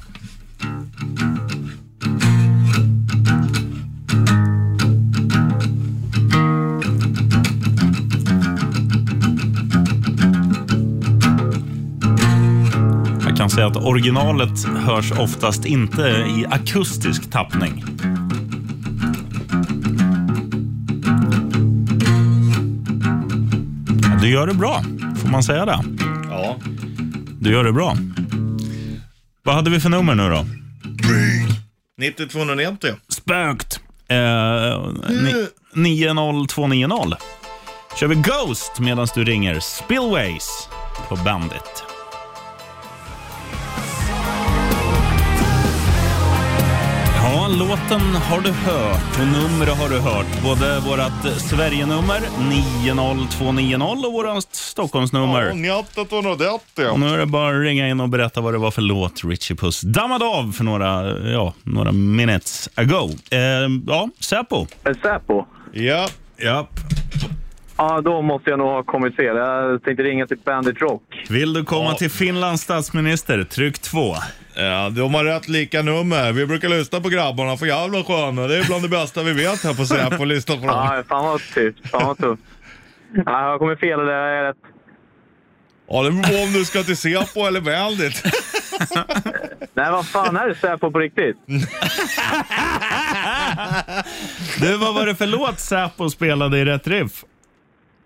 Speaker 2: sig att originalet hörs oftast inte i akustisk tappning. Ja, Du gör det bra, får man säga det?
Speaker 3: Ja.
Speaker 2: Du gör det bra. Vad hade vi för nummer nu då?
Speaker 3: 9290.
Speaker 2: Spökt. Eh, ni- 90290. Kör vi Ghost medan du ringer Spillways på Bandit. Ja, låten har du hört och numret har du hört. Både vårt Sverigenummer 90290 och vårt Stockholmsnummer.
Speaker 3: 9290.
Speaker 2: Och nu är det bara att ringa in och berätta vad det var för låt Richie Puss dammade av för några, ja, några minutes ago. Eh, ja, Säpo.
Speaker 7: Eh, Säpo?
Speaker 3: Ja.
Speaker 2: Japp.
Speaker 7: Ja, då måste jag nog ha kommit fel. Jag tänkte ringa till Bandit Rock.
Speaker 2: Vill du komma
Speaker 3: Ja.
Speaker 2: till Finlands statsminister? Tryck två.
Speaker 3: ja, de har rätt lika nummer. Vi brukar lyssna på grabbarna, för jävla sköna. Det är bland det bästa vi vet här på Säpo, lyssna på dem.
Speaker 7: Ja, fan vad tufft. Fan vad tufft. Ja, jag har kommit fel eller är jag rätt?
Speaker 3: Ja, det beror på om du ska till Säpo eller Bandit.
Speaker 7: Nej, vad fan är det Säpo på riktigt?
Speaker 2: Du, vad var det för låt Säpo spelade i Rätt Riff?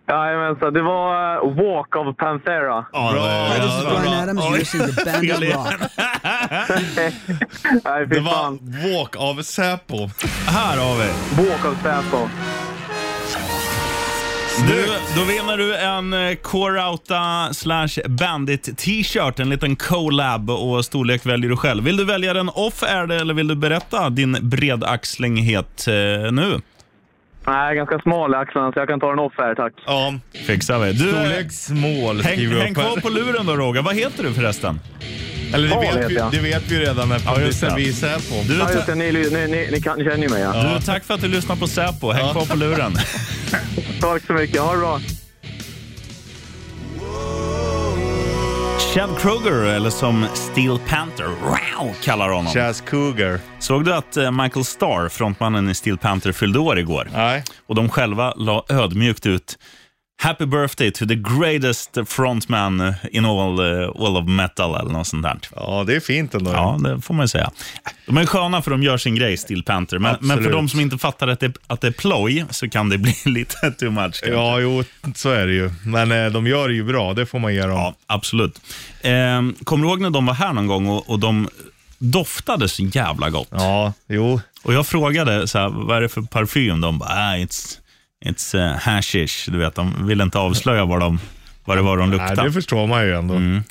Speaker 7: Jajamensan, det var eh, Walk of Panthera.
Speaker 6: Hi, this is
Speaker 3: Ja,
Speaker 6: Brian Adams. You're listening to
Speaker 2: Really?
Speaker 6: Bandit Rock.
Speaker 7: Nej,
Speaker 3: Det
Speaker 7: fy
Speaker 3: var
Speaker 7: fan.
Speaker 3: Walk av Säpo.
Speaker 2: Här har vi.
Speaker 7: Walk of Säpo.
Speaker 2: Du, då vinner du en eh, Corauta slash Bandit t-shirt, en liten collab och storlek väljer du själv. Vill du välja den off air eller vill du berätta din bredaxlinghet eh, nu?
Speaker 7: Nej, ganska smal i axlarna så jag kan ta den off här, tack.
Speaker 3: Ja,
Speaker 2: Fixar vi. Du, eh,
Speaker 3: storlek small
Speaker 2: häng,
Speaker 3: skriver vi
Speaker 2: häng
Speaker 3: upp
Speaker 2: kvar
Speaker 3: här.
Speaker 2: på luren då Roger. Vad heter du förresten?
Speaker 3: Eller det
Speaker 7: Paul
Speaker 3: vet,
Speaker 7: heter
Speaker 3: vi,
Speaker 7: jag.
Speaker 3: det vet vi ju redan
Speaker 2: Ja,
Speaker 3: eftersom
Speaker 2: just det.
Speaker 3: vi är Säpo.
Speaker 2: Du,
Speaker 7: Ja, just
Speaker 2: ta,
Speaker 7: det. Ni, ni, ni, ni, kan, ni känner ju mig, ja.
Speaker 2: du, tack för att du lyssnar på Säpo. Häng kvar på luren.
Speaker 7: Tack så mycket. Ha det bra.
Speaker 2: Chad Kroger, eller som Steel Panther wow, kallar honom.
Speaker 3: Chas Cougar.
Speaker 2: Såg du att eh, Michael Starr, frontmannen i Steel Panther, fyllde år igår?
Speaker 3: Nej.
Speaker 2: och de själva la ödmjukt ut Happy birthday to the greatest frontman in all, eh, all of metal eller något sånt där.
Speaker 3: Ja, det är fint ändå.
Speaker 2: Ja, det får man ju säga. De är sköna för de gör sin grej, Steel Panther. Men, men för
Speaker 3: Absolut.
Speaker 2: de som inte fattar att det, att det är ploj så kan det bli lite too much. kanske.
Speaker 3: Ja, jo, så är det ju. Men eh, de gör det ju bra, det får man ge dem.
Speaker 2: Ja, absolut. Ehm, kommer du ihåg när de var här någon gång och, och de doftade så jävla gott?
Speaker 3: Ja, jo.
Speaker 2: Och jag frågade så här, vad är det för parfym? De bara, ah, it's, it's eh, hashish. Du vet, de ville inte avslöja vad, de, vad det var de
Speaker 3: Nej,
Speaker 2: luktade.
Speaker 3: det förstår man ju ändå. Mm.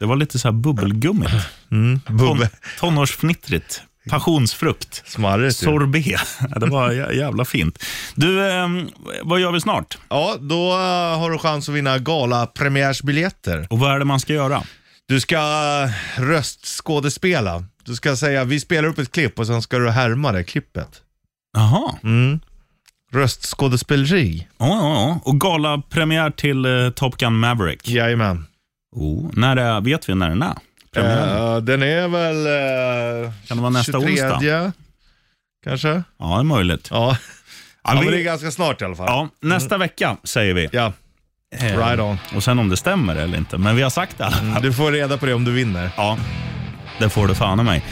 Speaker 2: Det var lite så här bubbelgummigt. Ton,
Speaker 3: Bubbe.
Speaker 2: tonårsfnittrigt. Passionsfrukt.
Speaker 3: Smarrigt ju.
Speaker 2: Sorbet. Det var jä- jävla fint. Du, ehm, vad gör vi snart?
Speaker 3: Ja, då eh, har du chans att vinna galapremiärsbiljetter.
Speaker 2: Och vad är det man ska
Speaker 3: Mm.
Speaker 2: göra?
Speaker 3: Du ska eh, röstskådespela. Du ska säga, vi spelar upp ett klipp och sen ska du härma det klippet.
Speaker 2: Jaha.
Speaker 3: Röstskådespeleri.
Speaker 2: Ja, ja, ja. Och galapremiär till eh, Top Gun Maverick.
Speaker 3: Jajamän.
Speaker 2: Oh. När är, vet vi när den är? Premiären?
Speaker 3: Eh, den är väl... eh,
Speaker 2: Kan det vara nästa
Speaker 3: 23
Speaker 2: onsdag?
Speaker 3: Kanske?
Speaker 2: Ja, det är möjligt.
Speaker 3: Ja.
Speaker 2: Ja,
Speaker 3: ja men
Speaker 2: vi-
Speaker 3: det är ganska snart i alla fall.
Speaker 2: Ja, nästa vecka säger vi.
Speaker 3: Ja, Eh. right Mm. on.
Speaker 2: Och sen om det stämmer eller inte. Men vi har sagt det i alla fall.
Speaker 3: Du får reda på det om du vinner.
Speaker 2: Ja, det får du fan i mig.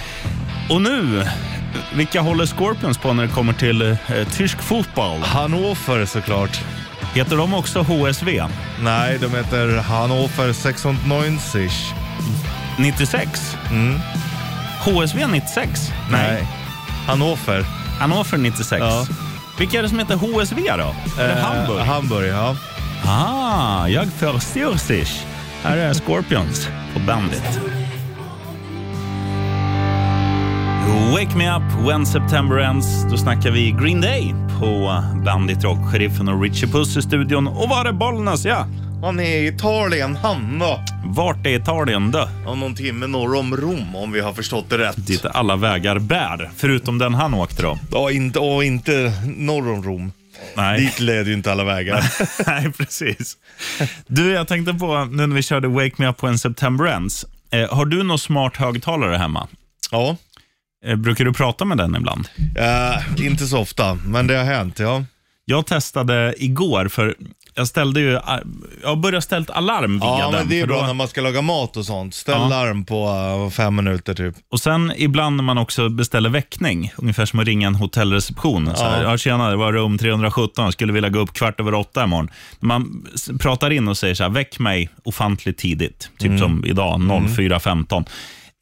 Speaker 2: Och nu, vilka håller Scorpions på när det kommer till eh, tysk fotboll?
Speaker 3: Hannover såklart.
Speaker 2: Heter de också HSV?
Speaker 3: Nej, de heter Hannover 690.
Speaker 2: 96?
Speaker 3: Mm.
Speaker 2: HSV 96?
Speaker 3: Hannover.
Speaker 2: Hannover 96?
Speaker 3: Ja.
Speaker 2: Vilka är det som heter HSV då? Är det
Speaker 3: Eh,
Speaker 2: Hamburg?
Speaker 3: Hamburg, ja.
Speaker 2: ah, jag förstår sich. Här är Scorpions på Bandit. Wake me up when September ends. Då snackar vi Green Day på Bandit Rock. Sheriffen och Richie Puss i studion. Och var är Bollnäs? Ja,
Speaker 3: Han är i Italien, Hanna.
Speaker 2: vart är Italien då?
Speaker 3: Om någon timme norr om Rom, om vi har förstått det rätt.
Speaker 2: Dit alla vägar bär, förutom den han åkte då.
Speaker 3: Ja, inte, och inte norr om Rom.
Speaker 2: Nej,
Speaker 3: Dit leder ju inte alla vägar.
Speaker 2: Nej precis. Du, jag tänkte på nu när vi körde Wake me up when September ends. Eh, har du någon smart högtalare hemma?
Speaker 3: ja.
Speaker 2: Eh, brukar du prata med den ibland?
Speaker 3: Eh, inte så ofta, men det har hänt, ja.
Speaker 2: Jag testade igår, för jag ställde ju, jag har börjat ställt alarm via
Speaker 3: Ja,
Speaker 2: den.
Speaker 3: men det är
Speaker 2: för
Speaker 3: bra
Speaker 2: då-
Speaker 3: när man ska laga mat och sånt. Ställ
Speaker 2: Ja.
Speaker 3: larm på eh, fem minuter typ.
Speaker 2: Och sen ibland när man också beställer väckning, ungefär som att ringa en hotellreception. Så här, ja, tjena, det var rum 317, jag skulle vilja gå upp kvart över åtta imorgon. Man s- pratar in och säger så här, väck mig ofantligt tidigt, typ som idag 04.15.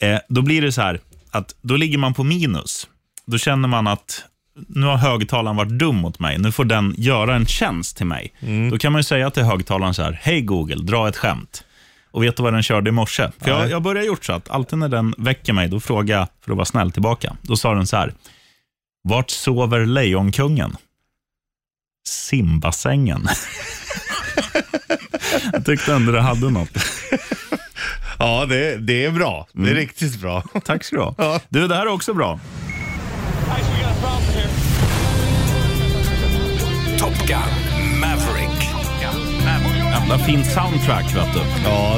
Speaker 2: Eh, då blir det så här, att då ligger man på minus. Då känner man att nu har högtalaren varit dum mot mig, nu får den göra en tjänst till mig. Då kan man ju säga till högtalaren så här, hej Google, dra ett skämt. Och vet du vad den körde i morse? För jag, jag börjar gjort så att alltid när den väcker mig, då frågar jag för att vara snäll tillbaka. Då sa den så här. Vart sover Lejonkungen? Simbassängen. jag tyckte ändå det hade något.
Speaker 3: Ja, det, det är bra. Det är riktigt bra.
Speaker 2: Tack ska du ha. Du, det här är också bra.
Speaker 1: Top Gun Maverick.
Speaker 2: Jävla fint soundtrack, vet du.
Speaker 3: Ja,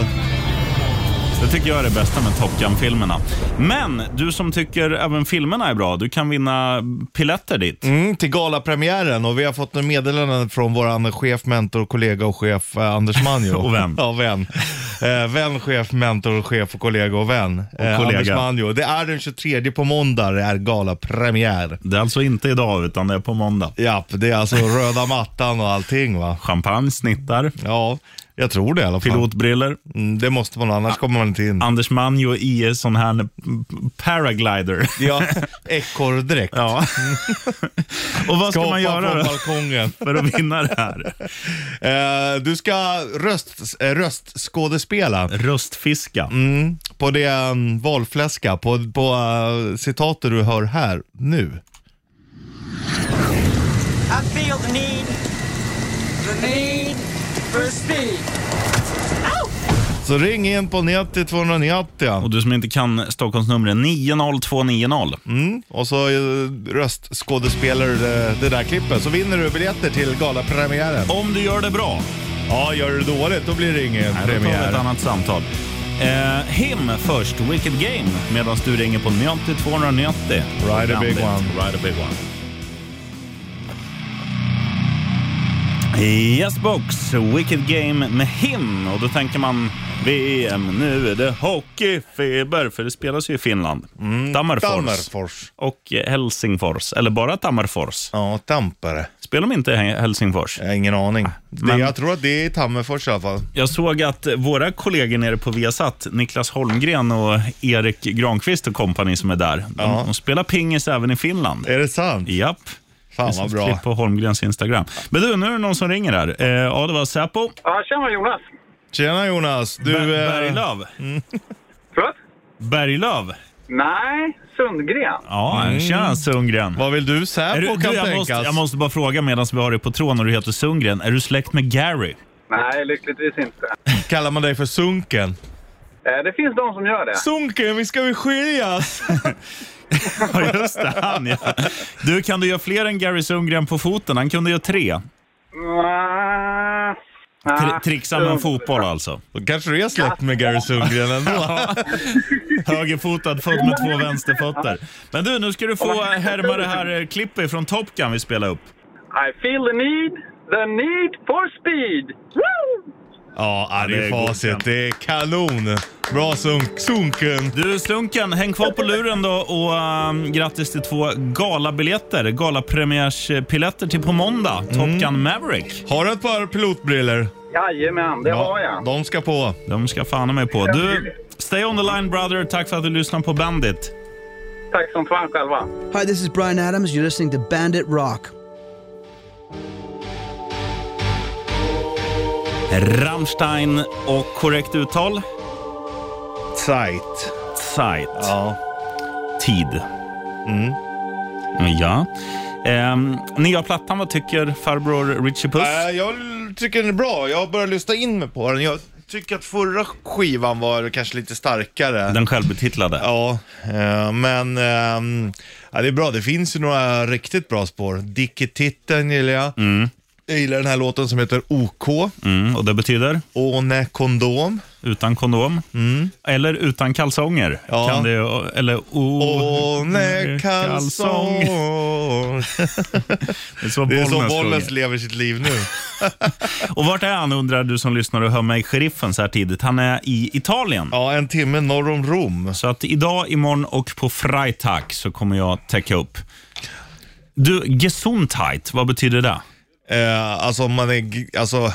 Speaker 2: Det tycker jag är det bästa med Top Gun-filmerna. Men du som tycker även filmerna är bra, du kan vinna piletter dit.
Speaker 3: mm, till galapremiären och vi har fått en meddelande från vår chef, mentor, kollega och chef eh, Anders Manjo.
Speaker 2: Och vän.
Speaker 3: Ja, vän. Eh, vän, chef, mentor, chef och kollega och vän. Eh,
Speaker 2: kollega.
Speaker 3: Anders Manjo. Det är den 23 på måndag, det är galapremiär.
Speaker 2: Det är alltså inte idag, utan det är på måndag.
Speaker 3: Japp, det är alltså röda mattan och allting va?
Speaker 2: Champagne, snittar,
Speaker 3: Ja, jag tror det i alla fall.
Speaker 2: pilotbriller.
Speaker 3: Mm, det måste man, annars kommer man inte in.
Speaker 2: Anders Manjo i sån här paraglider.
Speaker 3: Ja, ekorrdräkt.
Speaker 2: Ja. Och vad ska
Speaker 3: Ska
Speaker 2: man göra
Speaker 3: från
Speaker 2: då
Speaker 3: balkongen.
Speaker 2: för att vinna det här?
Speaker 3: Eh, du ska röst, eh, röstskådespela
Speaker 2: Röstfiska.
Speaker 3: på det um, valfläska, på, på eh, citatet du hör här nu.
Speaker 8: I feel the need, the need for speed.
Speaker 3: Så ring in på 90 290
Speaker 2: Och du som inte kan Stockholmsnumret, 90290.
Speaker 3: och så eh, röstskådespelar du det, det där klippet så vinner du biljetter till galapremiären.
Speaker 2: Om du gör det bra,
Speaker 3: Ja, gör du dåligt då blir det ingen
Speaker 2: Nej, då tar vi ett
Speaker 3: premiär.
Speaker 2: annat samtal. Eh, him först, Wicked Game, medan du ringer på 90 290.
Speaker 3: Ride a big
Speaker 2: Bandit,
Speaker 3: one.
Speaker 2: Ride a big one. Yes box, Wicked Game med him. Och då tänker man VM, nu är det hockeyfeber, för det spelas ju i Finland. Tammerfors.
Speaker 3: Mm, Tammerfors.
Speaker 2: Och eh, Helsingfors, eller bara Tammerfors.
Speaker 3: Ja, Tampere.
Speaker 2: Spelar de inte i Helsingfors?
Speaker 3: Jag har ingen aning.
Speaker 2: Men-
Speaker 3: Det, jag tror att det är Tammerfors i alla fall.
Speaker 2: Jag såg att våra kollegor nere på Viasat, Niklas Holmgren och Erik Granqvist och kompani som är där, de,
Speaker 3: Ja.
Speaker 2: de spelar pingis även i Finland.
Speaker 3: Är det sant?
Speaker 2: Japp.
Speaker 3: Fan
Speaker 2: Det
Speaker 3: vad
Speaker 2: finns
Speaker 3: bra.
Speaker 2: ett klipp på Holmgrens Instagram. Men du, nu är det någon som ringer här. Eh, ja, det var Säpo.
Speaker 4: Ja, tjena Jonas.
Speaker 3: Tjena Jonas. Du,
Speaker 2: Ber-
Speaker 3: eh,
Speaker 2: Berglöf.
Speaker 4: Förlåt?
Speaker 2: Berglöf.
Speaker 4: Nej, Sundgren.
Speaker 2: Ja, tjena Sundgren.
Speaker 3: Mm. vad vill du
Speaker 2: Är du,
Speaker 3: Säpo kan
Speaker 2: du, jag,
Speaker 3: tänkas?
Speaker 2: måste, jag måste bara fråga medan vi har dig på tråden och du heter Sundgren. Är du släkt med Gary?
Speaker 4: Nej, lyckligtvis inte.
Speaker 3: Kallar man dig för Sunken?
Speaker 4: Eh, Det finns de som gör det.
Speaker 3: Sunken, vi ska väl skiljas?
Speaker 2: Ja, just det. Han, ja. Du, kan du göra fler än Gary Sundgren på foten? Han kunde göra tre.
Speaker 4: Mm,
Speaker 2: Tri-
Speaker 4: ah,
Speaker 2: trixa med en fotboll alltså.
Speaker 3: Då kanske du är släkt med Gary Sundgren ändå.
Speaker 2: Högerfotad, född med två vänsterfötter. Men du, nu ska du få härma det här eh, klippet från Top Gun vi spelade upp.
Speaker 4: I feel the need, the need for speed. Woo!
Speaker 3: ja, ja, det
Speaker 2: Det är
Speaker 3: är
Speaker 2: godkänt.
Speaker 3: facit. Det är kanon. Bra sunk, Sunken.
Speaker 2: Du Slunken, häng kvar på luren då och um, grattis till två galabiljetter, galapremiärspiletter till på måndag,
Speaker 3: Mm.
Speaker 2: Top Gun Maverick.
Speaker 3: Har du ett par pilotbriller?
Speaker 4: Jajamän, det har jag.
Speaker 3: De ska på.
Speaker 2: De ska fan i mig på. Du, stay on the line brother, tack för att du lyssnar på Bandit.
Speaker 4: Tack som fan själva.
Speaker 6: Hi, this is Brian Adams. You're listening to Bandit Rock.
Speaker 2: Rammstein och korrekt uttal?
Speaker 3: Tight.
Speaker 2: Zeit.
Speaker 3: Ja. Mm.
Speaker 2: Tid. Ja. Ehm, nya plattan, vad tycker farbror Richie Puss?
Speaker 3: Äh, jag tycker den är bra. Jag har börjat lyssna in mig på den. Jag tycker att förra skivan var kanske lite starkare.
Speaker 2: Den självbetitlade.
Speaker 3: Ja, eh, men ehm, ja, det är bra. Det finns ju några riktigt bra spår. Dicky Titten gillar jag. Jag gillar den här låten som heter OK,
Speaker 2: Mm, och det betyder
Speaker 3: Åne kondom.
Speaker 2: utan kondom. Eller utan kalsonger.
Speaker 3: Mm. Ja.
Speaker 2: Kan det, ju- eller o,
Speaker 3: Åne kalsong.
Speaker 2: Det är så
Speaker 3: Det är så
Speaker 2: Bollnäs
Speaker 3: Bollnäs
Speaker 2: sjunger.
Speaker 3: lever sitt liv nu.
Speaker 2: Och vart är han undrar du som lyssnar och hör mig, sheriffen, så här tidigt? Han är i Italien.
Speaker 3: Ja, en timme norr om Rom.
Speaker 2: Så att idag, imorgon och på Freitag så kommer jag täcka upp. Du, Gesundheit, vad betyder det?
Speaker 3: Eh, alltså om man är g- alltså,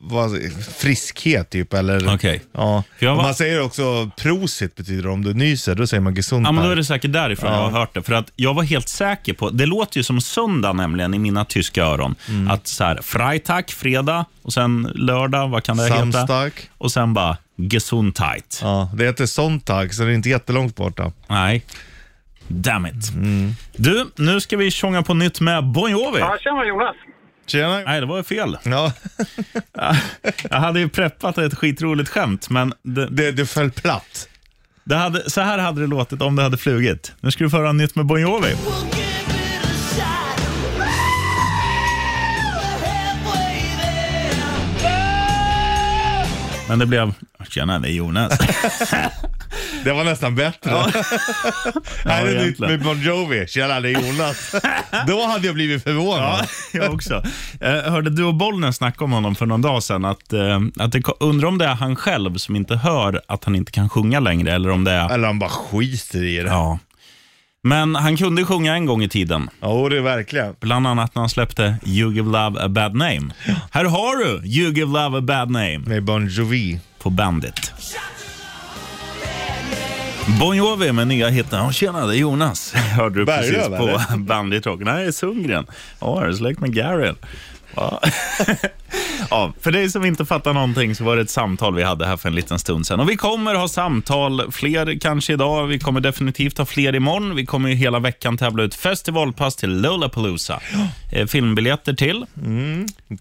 Speaker 3: vad, friskhet typ eller...
Speaker 2: Okej.
Speaker 3: Ja.
Speaker 2: För jag var-
Speaker 3: Man säger också prosit betyder om du nyser, då säger man gesundheit.
Speaker 2: Ja, men då är det säkert därifrån jag har hört det. För att jag var helt säker på, det låter ju som söndag nämligen i mina tyska öron.
Speaker 3: Mm.
Speaker 2: Att så här, Freitag, fredag och sen lördag, vad kan det heta?
Speaker 3: Samstag.
Speaker 2: Och sen bara Gesundheit.
Speaker 3: Ja, det heter Sonntag, så det är inte jättelångt borta.
Speaker 2: Nej. Damn it. Du, nu ska vi tjonga på nytt med Bon Jovi.
Speaker 7: Ja, tjena Jonas!
Speaker 3: Tjena!
Speaker 2: Nej, det var ju fel.
Speaker 3: Ja,
Speaker 2: Jag hade ju preppat ett skitroligt skämt, men det,
Speaker 3: det, det föll platt.
Speaker 2: det hade, så här hade det låtit om det hade flugit. Nu ska du få höra nytt med Bon Jovi. Men det blev... Tjena, det är Jonas.
Speaker 3: Det var nästan bättre. Här är nytt
Speaker 2: egentligen.
Speaker 3: med Bon Jovi. Tjena, det är Jonas. Då hade jag blivit
Speaker 2: Ja,
Speaker 3: förvånad.
Speaker 2: jag också. Eh, hörde du och Bollnäs snacka om honom för någon dag sedan? Att, eh, att det, undrar om det är han själv som inte hör att han inte kan sjunga längre, eller om det är...
Speaker 3: Eller han bara skiter i det. Ja,
Speaker 2: Ja. Men han kunde ju sjunga en gång i tiden.
Speaker 3: det är verkligen.
Speaker 2: Bland annat när han släppte You Give Love A Bad Name. Här har du You Give Love A Bad Name
Speaker 3: Med Bon Jovi.
Speaker 2: på Bandit. Bon Jovi med nya hiten. Ja, tjena, det är Jonas. Hörde du precis
Speaker 3: Berglöf,
Speaker 2: på Bandit Rock. Nej, Sundgren. Ja, är du släkt med Garrel? Ja. ja, för dig som inte fattar någonting så var det ett samtal vi hade här för en liten stund sedan. Och vi kommer ha samtal, fler kanske idag. Vi kommer definitivt ha fler imorgon. Vi kommer ju hela veckan tävla ut festivalpass till Lollapalooza. Eh, Filmbiljetter till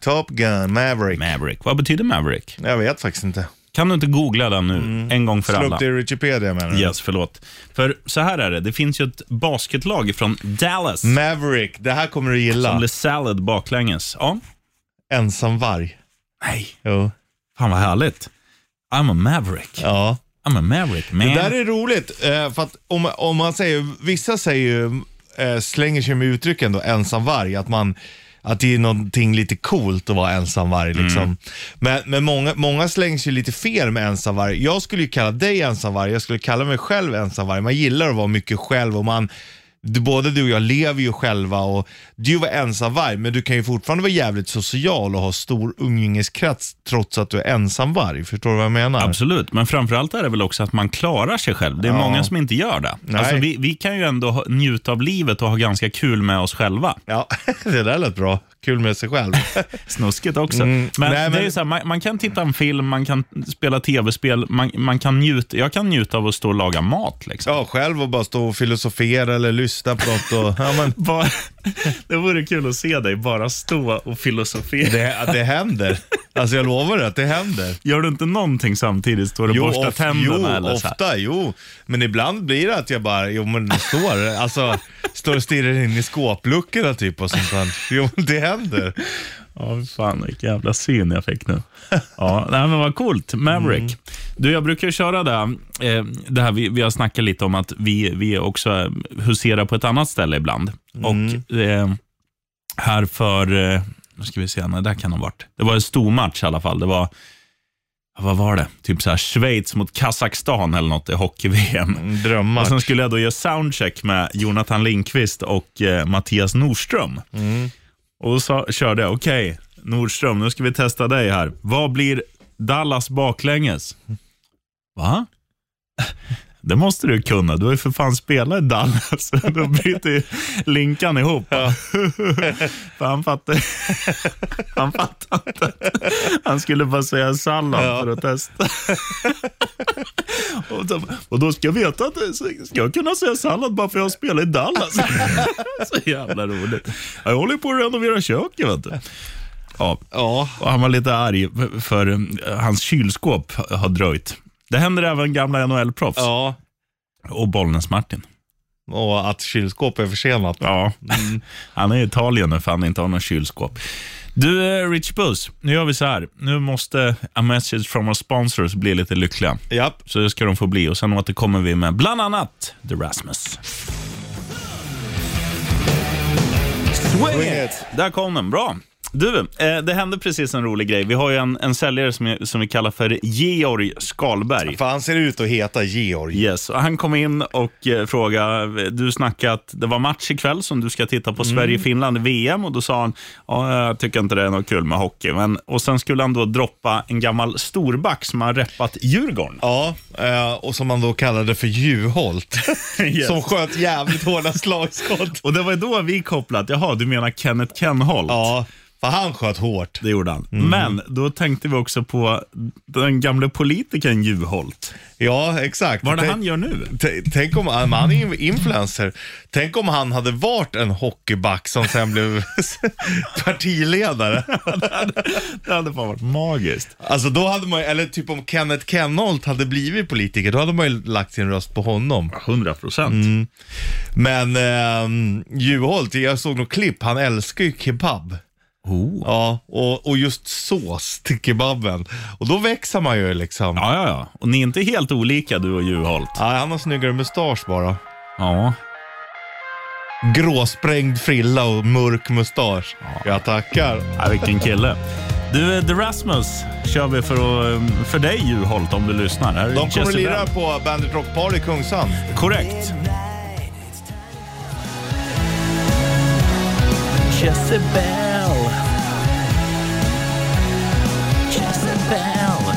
Speaker 3: Top Gun, Maverick.
Speaker 2: Maverick. Vad betyder Maverick?
Speaker 3: Jag vet faktiskt inte.
Speaker 2: Kan du inte googla den nu, en gång för
Speaker 3: Mm. Slå
Speaker 2: alla?
Speaker 3: upp det i Wikipedia menar du?
Speaker 2: Yes, förlåt. För så här är det, det finns ju ett basketlag från Dallas
Speaker 3: Maverick, det här kommer du
Speaker 2: som
Speaker 3: gilla.
Speaker 2: blev salad baklänges. Ja.
Speaker 3: Ensamvarg.
Speaker 2: Nej,
Speaker 3: Jo.
Speaker 2: fan vad härligt. I'm a maverick.
Speaker 3: Ja.
Speaker 2: I'm a maverick man.
Speaker 3: Det där är roligt, eh, för att om, om man säger, vissa säger ju, eh, slänger sig med uttrycken då, ensamvarg, att man att det är någonting lite coolt att vara ensamvarg. Liksom. Men, men många, många slänger sig lite fel med ensamvarg. Jag skulle ju kalla dig ensamvarg, jag skulle kalla mig själv ensamvarg. Man gillar att vara mycket själv och man, du, både du och jag lever ju själva och du var ensamvarg, men du kan ju fortfarande vara jävligt social och ha stor umgängeskrets trots att du är ensamvarg. Förstår du vad jag menar?
Speaker 2: Absolut, men framförallt är det väl också att man klarar sig själv. Det är många som inte gör det.
Speaker 3: Nej.
Speaker 2: Alltså, vi, vi kan ju ändå ha- njuta av livet och ha ganska kul med oss själva.
Speaker 3: Ja, det där lät bra. Kul med sig själv.
Speaker 2: Snuskigt också.
Speaker 3: Mm.
Speaker 2: Men,
Speaker 3: Nej,
Speaker 2: det
Speaker 3: men-
Speaker 2: är ju så här, man, man kan titta en film, man kan spela tv-spel, man, man kan njuta, jag kan njuta av att stå och laga mat. Liksom.
Speaker 3: Ja, själv och bara stå och filosofera eller lyssna på något. Och, ja, men,
Speaker 2: Bara, det vore kul att se dig bara stå och filosofera.
Speaker 3: det, det händer. Alltså jag lovar dig att det händer.
Speaker 2: Gör du inte någonting samtidigt? Står du och borstar
Speaker 3: of-
Speaker 2: tänderna
Speaker 3: jo
Speaker 2: eller så här?
Speaker 3: ofta, jo. Men ibland blir det att jag bara, jo men det står, alltså, står och stirrar in i skåpluckorna typ och sånt där. Jo, det händer.
Speaker 2: Ja, fy fan vilken jävla syn jag fick nu. Ja, nej, men vad coolt. Maverick. Du, jag brukar ju köra det, eh, det här vi, vi har snackat lite om att vi, vi också eh, huserar på ett annat ställe ibland. Och eh, här för, eh, nu ska vi se, när det där kan det ha varit. Det var en stor match i alla fall. Det var, vad var det? Typ så här Schweiz mot Kazakstan eller något i hockey-VM.
Speaker 3: Drömmar.
Speaker 2: Och sen skulle jag då göra soundcheck med Jonathan Lindqvist och eh, Mattias Nordström. Och då sa, körde jag, okej Nordström, nu ska vi testa dig här. Vad blir Dallas baklänges? Va? Det måste du kunna. Du har ju för fan spelat i Dallas. Då bryter ju Linkan ihop. för han fattar, han fattar inte. Han skulle bara säga sallad för att testa. Och då, och då ska jag veta att det- så ska jag kunna säga sallad bara för jag spelar i Dallas. så jävla roligt. Jag håller på att renovera köket. Vet du. Ja.
Speaker 3: Ja,
Speaker 2: Och han var lite arg för, för eh, hans kylskåp har dröjt. Det händer även gamla NHL-proffs
Speaker 3: ja.
Speaker 2: och Bollnäs-Martin.
Speaker 3: och att kylskåp är försenat.
Speaker 2: Ja, han är i Italien nu för han inte har någon kylskåp. Du, eh, Rich Puss, nu gör vi så här. Nu måste A Message from Our Sponsors bli lite lyckliga.
Speaker 3: Japp.
Speaker 2: Så det ska de få bli och sen återkommer vi med bland annat The Rasmus. Swing
Speaker 3: Swing
Speaker 2: it!
Speaker 3: it.
Speaker 2: Där kom den, bra. Du, eh, det hände precis en rolig grej. Vi har ju en, en säljare som, som vi kallar för Georg Skalberg.
Speaker 3: För han ser ut att heta Georg.
Speaker 2: Yes, och han kom in och eh, frågade, du snackade att det var match ikväll som du ska titta på Sverige-Finland i
Speaker 3: Mm.
Speaker 2: VM och då sa han, ja, jag tycker inte det är något kul med hockey. Men, och sen skulle han då droppa en gammal storback som har reppat Djurgården.
Speaker 3: Ja, eh, och som man då kallade för Juholt.
Speaker 2: Yes.
Speaker 3: Som sköt jävligt hårda slagskott.
Speaker 2: Och det var då vi kopplat, jaha, du menar Kenneth Kenholt?
Speaker 3: Ja, för han sköt hårt.
Speaker 2: Det gjorde han. Men då tänkte vi också på den gamle politikern Juholt.
Speaker 3: Ja, exakt.
Speaker 2: Vad är det
Speaker 3: Tänk-
Speaker 2: han gör nu?
Speaker 3: T- Tänk om, han han är ju influencer. Tänk om han hade varit en hockeyback som sen blev partiledare.
Speaker 2: Det hade fan varit magiskt.
Speaker 3: Alltså då hade man ju- eller typ om Kenneth Kenholt hade blivit politiker, då hade man ju lagt sin röst på honom.
Speaker 2: 100 procent.
Speaker 3: Men ehm, Juholt, jag såg något klipp, han älskar ju kebab.
Speaker 2: Oh.
Speaker 3: Ja, och, och just sås till kebaben. Och då växer man ju liksom.
Speaker 2: Ja, ja, ja. Och ni är inte helt olika du och Juholt.
Speaker 3: Nej, han har snyggare mustasch bara.
Speaker 2: Ja.
Speaker 3: Gråsprängd frilla och mörk mustasch. Jag tackar.
Speaker 2: Ja, vilken kille. Du, eh, The Rasmus kör vi för, att, eh, för dig Juholt om du lyssnar. Här är
Speaker 3: De kommer
Speaker 2: Jesse
Speaker 3: att lira
Speaker 2: Bell.
Speaker 3: på Bandit Rock Party i Kungsan.
Speaker 2: Korrekt.
Speaker 5: Jezebel. Jezebel.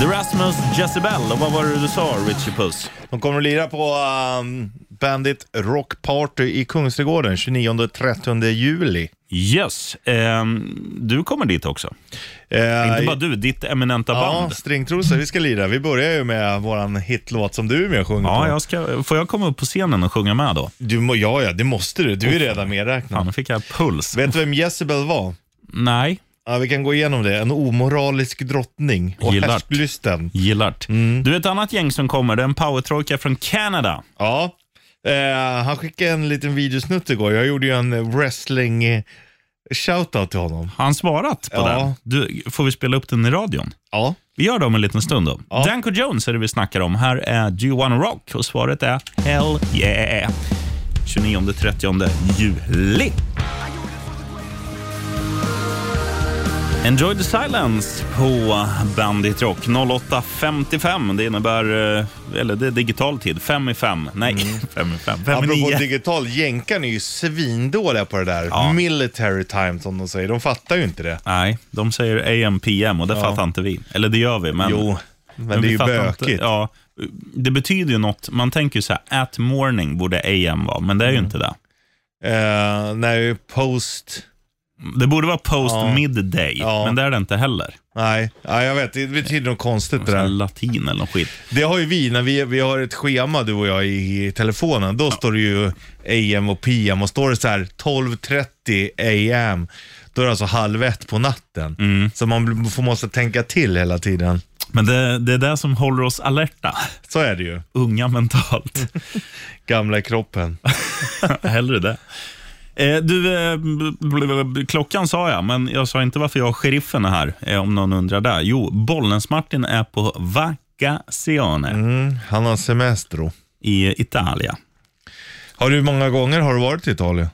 Speaker 2: The Rasmus Jezebel. Och vad var det du sa, Richie Puss?
Speaker 3: De kommer att lira på ehm, Bandit Rock Party i Kungsträdgården 29-30 juli.
Speaker 2: Yes. Ehm, du kommer dit också.
Speaker 3: Eh,
Speaker 2: Inte bara du, ditt eminenta
Speaker 3: Ja,
Speaker 2: band.
Speaker 3: Stringtrosor, vi ska lira. Vi börjar ju med våran hitlåt som du är med och sjunger
Speaker 2: Ja,
Speaker 3: på.
Speaker 2: jag ska, får jag komma upp på scenen och sjunga med då?
Speaker 3: Du, må- ja, ja, det måste du. Du är redan
Speaker 2: Ja,
Speaker 3: medräknad.
Speaker 2: nu fick jag puls.
Speaker 3: Vet du vem Jezebel var?
Speaker 2: Nej,
Speaker 3: Ja, vi kan gå igenom det. En omoralisk drottning och
Speaker 2: Gillar.
Speaker 3: härsklysten.
Speaker 2: gillart. Du, ett annat gäng som kommer, det är en powertrojka från Kanada.
Speaker 3: Ja. Eh, han skickade en liten videosnutt igår. Jag gjorde ju en wrestling eh, shoutout till honom.
Speaker 2: Har han svarat på
Speaker 3: Ja.
Speaker 2: den? Du, får vi spela upp den i radion?
Speaker 3: Ja.
Speaker 2: Vi gör det om en liten stund. Då.
Speaker 3: Ja.
Speaker 2: Danko Jones är det vi snackar om. Här är Do You Wanna Rock och svaret är Hell Yeah. 29-30 juli. Enjoy the silence på Bandit Rock 08.55. Det innebär, eh, eller det är digital tid, 5 i 5. Nej, 5 i 5. 5 i
Speaker 3: Mm. Apropå
Speaker 2: 9.
Speaker 3: digital, jänkarna är ju svindåliga på det där.
Speaker 2: Ja.
Speaker 3: Military time som de säger. De fattar ju inte det.
Speaker 2: Nej, de säger AM, PM och det fattar inte vi. Eller det gör vi, men...
Speaker 3: Jo, men, det är
Speaker 2: vi
Speaker 3: ju
Speaker 2: fattar
Speaker 3: bökigt.
Speaker 2: Inte, ja, det betyder ju något. Man tänker ju så här, at morning borde AM vara, men det är
Speaker 3: Mm.
Speaker 2: ju inte det.
Speaker 3: Eh, nej, post...
Speaker 2: Det borde vara post
Speaker 3: Ja.
Speaker 2: midday,
Speaker 3: Ja.
Speaker 2: men det är det inte heller.
Speaker 3: Nej, ja, jag vet. Det betyder något konstigt det
Speaker 2: Så här
Speaker 3: där.
Speaker 2: latin eller något skit.
Speaker 3: Det har ju vi, när vi, vi har ett schema du och jag i, i telefonen. Då står det ju AM och PM och står det så här 12.30 AM. Då är det alltså halv ett på natten.
Speaker 2: Mm.
Speaker 3: Så man bl- får, måste tänka till hela tiden.
Speaker 2: Men det, det är det som håller oss alerta,
Speaker 3: Så är det ju.
Speaker 2: unga mentalt.
Speaker 3: Gamla i kroppen.
Speaker 2: Hellre det. Eh, du, eh, bl- bl- bl- klockan sa jag, men jag sa inte varför jag och sheriffen är här, eh, om någon undrar det. Jo, Bollnäs-Martin är på Vacazione
Speaker 3: Mm. Han har semester.
Speaker 2: i Italien.
Speaker 3: Har du många gånger har du varit i Italien?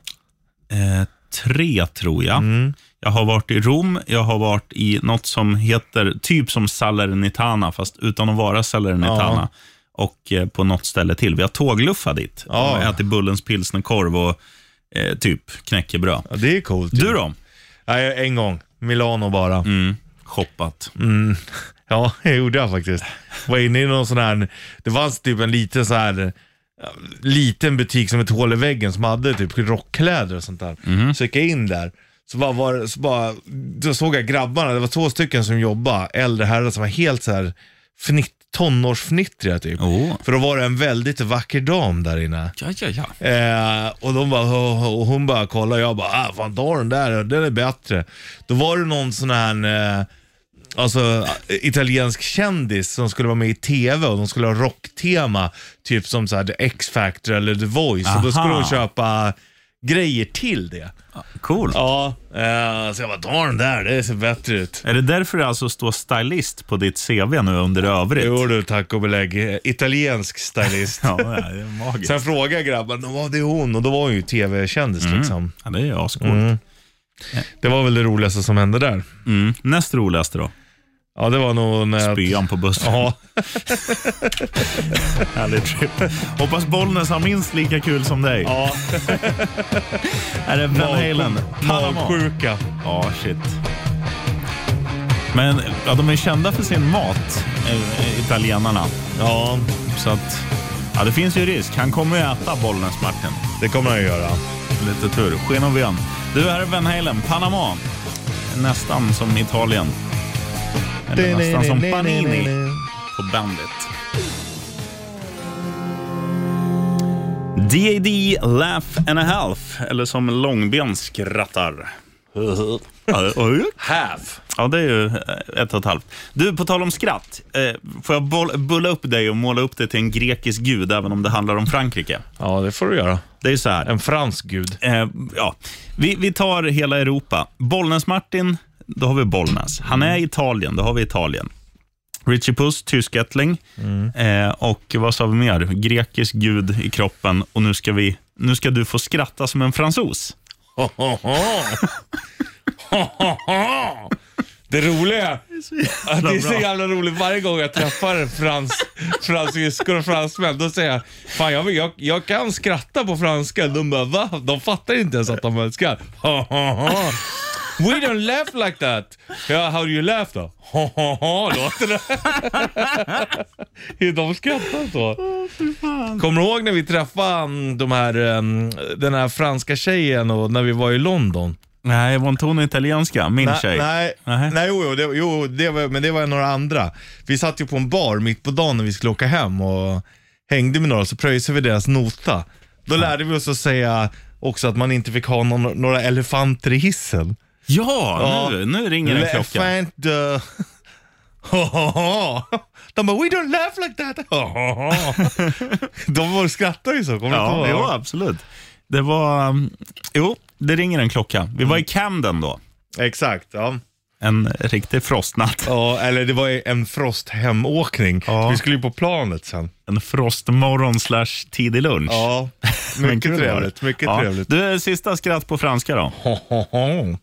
Speaker 2: Eh, tre tror jag.
Speaker 3: Mm.
Speaker 2: Jag har varit i Rom, jag har varit i något som heter typ som Salernitana, fast utan att vara Salernitana. Och eh, på något ställe till. Vi har tågluffat dit.
Speaker 3: Ja.
Speaker 2: Och ätit Bullens pilsnerkorv och eh, typ knäckebröd.
Speaker 3: Ja, det är coolt. ju.
Speaker 2: Du då? Mm.
Speaker 3: Nej, en gång. Milano bara.
Speaker 2: Shoppat.
Speaker 3: Mm. Ja, det gjorde jag faktiskt. Var inne i någon sån här, det fanns typ en liten så här ja, liten butik som ett hål i väggen som hade typ rockkläder och sånt där. Så gick jag in där. Så bara, var, så bara då såg jag grabbarna, det var två stycken som jobbade, äldre herrar som var helt så här fnitt, tonårsfnittriga typ.
Speaker 2: Åh.
Speaker 3: För då var det en väldigt vacker dam där inne.
Speaker 2: Ja, ja, ja.
Speaker 3: Eh, och, de bara, och hon bara kollade och jag bara, ah, fan ta den där, den är bättre. Då var det någon sån här, eh, alltså, italiensk kändis som skulle vara med i TV och de skulle ha rocktema. Typ som så här, The X-Factor eller The Voice. Och då skulle
Speaker 2: Aha.
Speaker 3: de köpa grejer till det.
Speaker 2: Cool.
Speaker 3: Ja, eh, så jag bara, ta den där, det ser bättre ut.
Speaker 2: Är det därför det alltså står stylist på ditt CV nu under övrigt?
Speaker 3: Jo du, tack och belägg. Eh, Italiensk stylist.
Speaker 2: Ja, det är magiskt.
Speaker 3: Sen frågade jag grabben, vad det är hon? Och då var hon ju tv-kändis
Speaker 2: Mm.
Speaker 3: liksom.
Speaker 2: Ja, det är ascoolt.
Speaker 3: Mm. Det var väl det roligaste som hände där.
Speaker 2: Mm. Näst roligaste då?
Speaker 3: Ja, det var nog när...
Speaker 2: Spyan på bussen.
Speaker 3: Ja,
Speaker 2: Härlig trip. Hoppas Bollnäs har minst lika kul som dig.
Speaker 3: ja.
Speaker 2: Är det Van Halen? Panama?
Speaker 3: Magsjuka.
Speaker 2: Ja, shit. Men ja, de är kända för sin mat, eh, italienarna.
Speaker 3: Ja,
Speaker 2: Så att, ja, det finns ju risk. Han kommer ju äta Bollnäs, Martin.
Speaker 3: det kommer han ju göra.
Speaker 2: Lite tur. Sken och ven. Du, här är Van Halen. Panama. Nästan som Italien. Eller nästan som Panini på Bandit. DAD Laugh and a Half, eller som Långben skrattar.
Speaker 3: Have.
Speaker 2: Ja, det är ju eh, ett och ett halvt. Du, på tal om skratt. eh, Får jag boll- bulla upp dig och måla upp dig till en grekisk gud, även om det handlar om Frankrike?
Speaker 3: Ja, det får du göra.
Speaker 2: Det är ju så här.
Speaker 3: En fransk gud.
Speaker 2: Eh, ja. vi, vi tar hela Europa. Bollnäs-Martin, då har vi Bollnäs. Han är i Italien, då har vi Italien. Richie Puss, tyskättling. Eh, och vad sa vi mer? Grekisk gud i kroppen. Och nu ska, vi, nu ska du få skratta som en fransos.
Speaker 3: Det roliga är att det är så
Speaker 2: bra.
Speaker 3: jävla roligt varje gång jag träffar en frans, fransyskor och fransmän. Då säger jag, fan jag, jag, jag kan skratta på franska. De bara, va? De fattar inte ens att de önskar. We don't laugh like that. Ja, how do you laugh då? Låter det. de skrattar så. Kommer du ihåg när vi träffade mm, de här, mm, den här franska tjejen och när vi var i London?
Speaker 2: Nej, var inte hon italienska? Min tjej.
Speaker 3: Nej,
Speaker 2: Nej.
Speaker 3: nej, nej jo, jo, det, jo det var, men det var några andra. Vi satt ju på en bar mitt på dagen när vi skulle åka hem och hängde med några, så pröjsade vi deras nota. Då lärde vi oss att säga också att man inte fick ha någon, några elefanter i hissen.
Speaker 2: Ja,
Speaker 3: Ja.
Speaker 2: Nu, nu ringer en klocka.
Speaker 3: Elefant... Uh, De bara, we don't laugh like that. De var- skrattar ju så, kommer
Speaker 2: Ja,
Speaker 3: du inte
Speaker 2: jo,
Speaker 3: ihåg?
Speaker 2: absolut. Det var... um, Jo, det ringer en klocka. Vi var i Camden då.
Speaker 3: Exakt, ja.
Speaker 2: En riktig frostnatt.
Speaker 3: ja. Eller det var en frosthemåkning.
Speaker 2: Ja.
Speaker 3: Vi skulle ju på planet sen.
Speaker 2: En frostmorgon slash tidig lunch.
Speaker 3: Ja,
Speaker 2: Men
Speaker 3: mycket
Speaker 2: kul var
Speaker 3: trevligt.
Speaker 2: det.
Speaker 3: Mycket
Speaker 2: Ja.
Speaker 3: trevligt.
Speaker 2: Du, eh, sista skratt på franska då.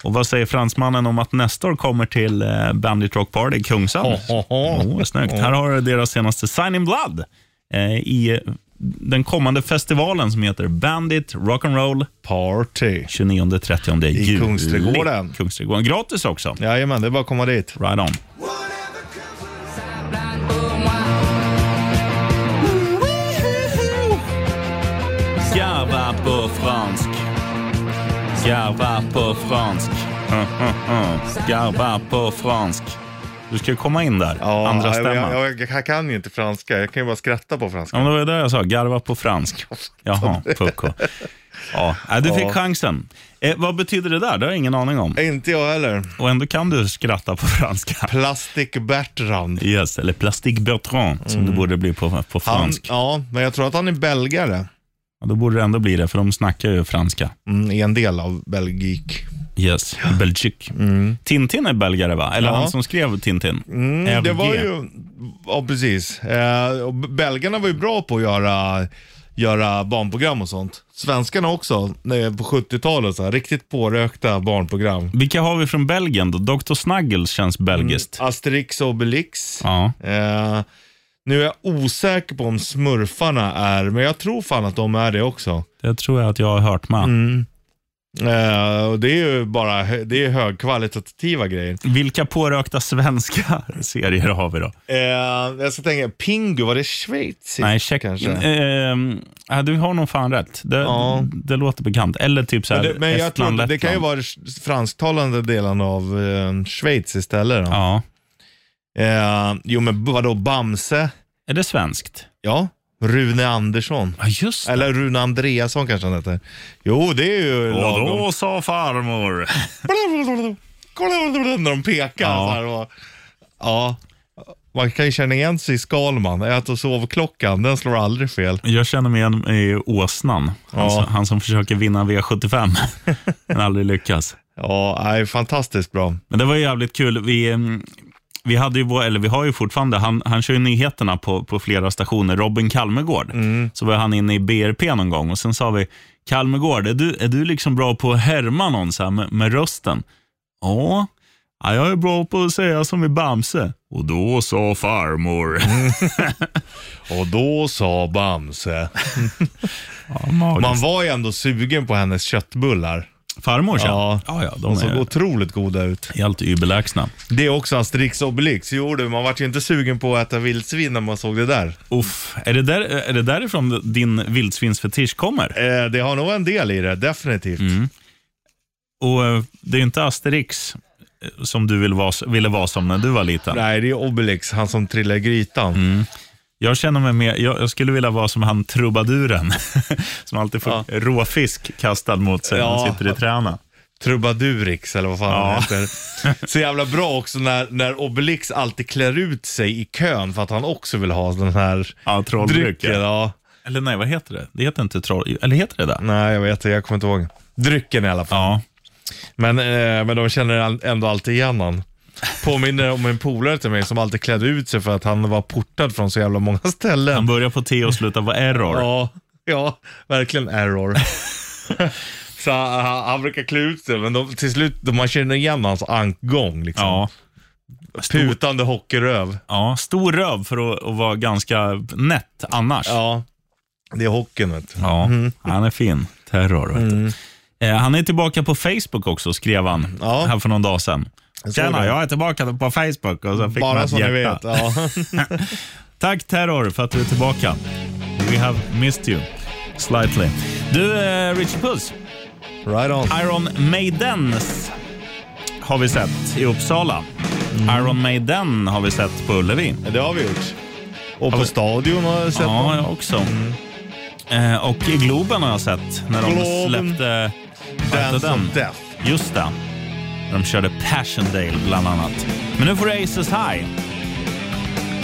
Speaker 2: Och vad säger fransmannen om att nästa år kommer till eh, Bandit Rock Party i Kungshamn? Oh, snyggt. Här har du deras senaste Sign in Blood eh, i den kommande festivalen som heter Bandit Rock'n'Roll
Speaker 3: Party.
Speaker 2: 29-30
Speaker 3: I
Speaker 2: juli.
Speaker 3: Kungsträdgården.
Speaker 2: Kungsträdgården. Gratis också.
Speaker 3: Jajamän, det är bara att komma dit.
Speaker 2: Right on. Garva på fransk. Garva på fransk. Mm, mm, mm. Garva på fransk. Du ska komma in där, andra
Speaker 3: jag,
Speaker 2: stämman. Ja,
Speaker 3: jag, jag, jag kan ju inte franska. Jag kan ju bara skratta på franska.
Speaker 2: men det var ju det jag sa. Garva på fransk. Jaha, pucko. Ja, äh, du fick
Speaker 3: Ja.
Speaker 2: chansen. Eh, vad betyder det där? Det har jag ingen aning om.
Speaker 3: Inte jag heller.
Speaker 2: Och ändå kan du skratta på franska.
Speaker 3: Plastic Bertrand.
Speaker 2: Yes, eller Plastic Bertrand som det borde bli på, på
Speaker 3: Mm. Han,
Speaker 2: fransk.
Speaker 3: ja, men jag tror att han är belgare.
Speaker 2: Ja, då borde det ändå bli det, för de snackar ju franska.
Speaker 3: Mm, I en del av Belgik.
Speaker 2: Yes, Belgique. Tintin är belgare, va? Eller
Speaker 3: Mm. Ja.
Speaker 2: han som skrev Tintin.
Speaker 3: Mm, det
Speaker 2: FG.
Speaker 3: var ju, ja precis. Eh, och belgarna var ju bra på att göra, göra barnprogram och sånt. Svenskarna också, när- på 70-talet. Så här, riktigt pårökta barnprogram.
Speaker 2: Vilka har vi från Belgien då? Dr. Snuggles
Speaker 3: Mm.
Speaker 2: känns belgiskt.
Speaker 3: Asterix och Obelix.
Speaker 2: Ja.
Speaker 3: Eh, nu är jag osäker på om smurfarna är, men jag tror fan att de är det också.
Speaker 2: Det tror jag att jag har hört med.
Speaker 3: Mm. Eh, och det är ju bara hö- det är högkvalitativa grejer.
Speaker 2: Vilka pårökta svenska serier har vi då?
Speaker 3: Eh, jag ska tänka, Pingu, var det Schweiz?
Speaker 2: Nej, check.
Speaker 3: kanske.
Speaker 2: Ehm, ja, du har nog fan rätt. Det,
Speaker 3: Ja.
Speaker 2: det låter bekant. Eller typ så här
Speaker 3: Men, det, men jag tror
Speaker 2: Estland,
Speaker 3: att det kan ju
Speaker 2: Lettland.
Speaker 3: vara s- fransktalande delen av eh, Schweiz istället. Då.
Speaker 2: Ja.
Speaker 3: Eh, jo, men vadå, Bamse?
Speaker 2: Är det svenskt?
Speaker 3: Ja, Rune Andersson.
Speaker 2: Ja, just det.
Speaker 3: Eller Rune Andreasson kanske han heter. Jo, det är ju
Speaker 2: Och
Speaker 3: lagom.
Speaker 2: då sa farmor.
Speaker 3: När de pekar
Speaker 2: Ja.
Speaker 3: så här och, Ja. Man kan ju känna igen sig i Skalman. Ät och sovklockan, den slår aldrig fel.
Speaker 2: Jag känner mig igen i åsnan. Han,
Speaker 3: Ja.
Speaker 2: som- han som försöker vinna V75, men aldrig lyckas.
Speaker 3: Ja, nej, fantastiskt bra.
Speaker 2: Men det var ju jävligt kul. Vi, mm, vi hade ju, vår- eller vi har ju fortfarande, han, han kör ju nyheterna på, på flera stationer. Robin Kalmegård.
Speaker 3: Mm.
Speaker 2: Så var han inne i BRP någon gång och sen sa vi, Kalmegård, är du, är du liksom bra på att härma någon så här med, med rösten? Ja. ja, jag är bra på att säga som i Bamse. Och då sa farmor.
Speaker 3: Mm. Och då sa Bamse. Man var ju ändå sugen på hennes köttbullar.
Speaker 2: farmor,
Speaker 3: Ja.
Speaker 2: ja, ja de
Speaker 3: De såg
Speaker 2: är
Speaker 3: otroligt goda ut.
Speaker 2: helt överlägsna.
Speaker 3: Det är också Asterix och Obelix. Jo du, man vart ju inte sugen på att äta vildsvin när man såg det där.
Speaker 2: Uff, är det, där, är det därifrån din vildsvinsfetisch kommer?
Speaker 3: Eh, det har nog en del i det, definitivt.
Speaker 2: Mm. Och eh, det är ju inte Asterix eh, som du vill vara, ville vara som när du var liten.
Speaker 3: Nej, det är Obelix, han som trillar i grytan.
Speaker 2: Mm. Jag känner mig mer, jag, jag skulle vilja vara som han trubaduren, som alltid får råfisk kastad mot sig när han
Speaker 3: Ja.
Speaker 2: sitter i träna.
Speaker 3: Trubadurix eller vad fan
Speaker 2: Ja.
Speaker 3: han heter. Så jävla bra också när, när Obelix alltid klär ut sig i kön för att han också vill ha den här
Speaker 2: Ja, trolldrycken.
Speaker 3: drycken. Ja.
Speaker 2: Eller nej, vad heter det? Det heter inte troll... Eller heter det det?
Speaker 3: Nej, jag vet inte, jag kommer inte ihåg. Drycken i alla fall.
Speaker 2: Ja.
Speaker 3: Men, eh, men de känner all- ändå alltid igen han. Påminner om en polare till mig som alltid klädde ut sig för att han var portad från så jävla många
Speaker 2: Han
Speaker 3: ställen.
Speaker 2: börjar på T och slutar på error.
Speaker 3: Ja, ja verkligen error. så eh, han, han brukar klä ut sig, men de, till slut de, man känner igen hans ankgång. Liksom.
Speaker 2: Ja.
Speaker 3: Putande hockeyröv.
Speaker 2: ja. Stor röv för att, att vara ganska nätt annars.
Speaker 3: Ja, det är hockeyn vet du.
Speaker 2: Ja, han är fin. Terror. Vet
Speaker 3: Mm.
Speaker 2: du. Eh, han är tillbaka på Facebook också, skrev han
Speaker 3: Ja.
Speaker 2: här för någon dag sedan.
Speaker 3: såg
Speaker 2: Tjena,
Speaker 3: det.
Speaker 2: jag är tillbaka på Facebook. Och så fick man
Speaker 3: Bara
Speaker 2: ett
Speaker 3: så ni
Speaker 2: hjärta.
Speaker 3: vet. Ja.
Speaker 2: Tack Terror för att du är tillbaka. We have missed you. Slightly. Du, eh, Richard Puss,
Speaker 3: Right on.
Speaker 2: Iron Maidens har vi sett i Uppsala.
Speaker 3: Mm.
Speaker 2: Iron Maiden har vi sett på Ullevi.
Speaker 3: Det har vi gjort. Och på stadion har jag sett
Speaker 2: Ja,
Speaker 3: dem. Mm.
Speaker 2: jag också. Eh, och i Globen har jag sett när de
Speaker 3: Globen.
Speaker 2: släppte... vad hette
Speaker 3: Dance of
Speaker 2: den?
Speaker 3: Death.
Speaker 2: Just det. De körde Passiondale bland annat. Men nu får du Aces High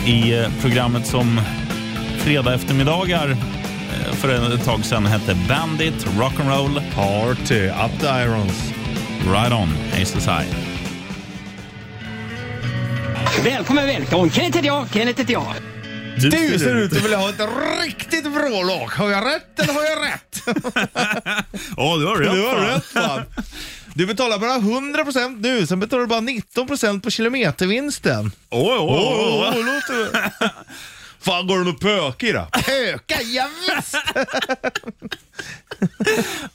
Speaker 2: i eh, programmet som fredag eftermiddagar eh, för ett tag sedan hette Bandit Rock'n'Roll
Speaker 3: Party, Up the Irons.
Speaker 2: Right On Aces High.
Speaker 8: Välkommen, välkommen. Kenneth heter jag, Kenneth heter jag.
Speaker 3: Du ser ut att vilja ha ett riktigt vrålåk. Har jag rätt eller har jag rätt?
Speaker 2: Åh, du har rätt.
Speaker 3: Du har
Speaker 2: fan.
Speaker 3: rätt fan. Du betalar bara 100% nu, sen betalar du bara 19% på kilometervinsten.
Speaker 2: Åh, åh,
Speaker 3: Åh,
Speaker 2: åh, åh.
Speaker 3: oh, låter det. Fan, går den och pöka i då? Pöka, javisst!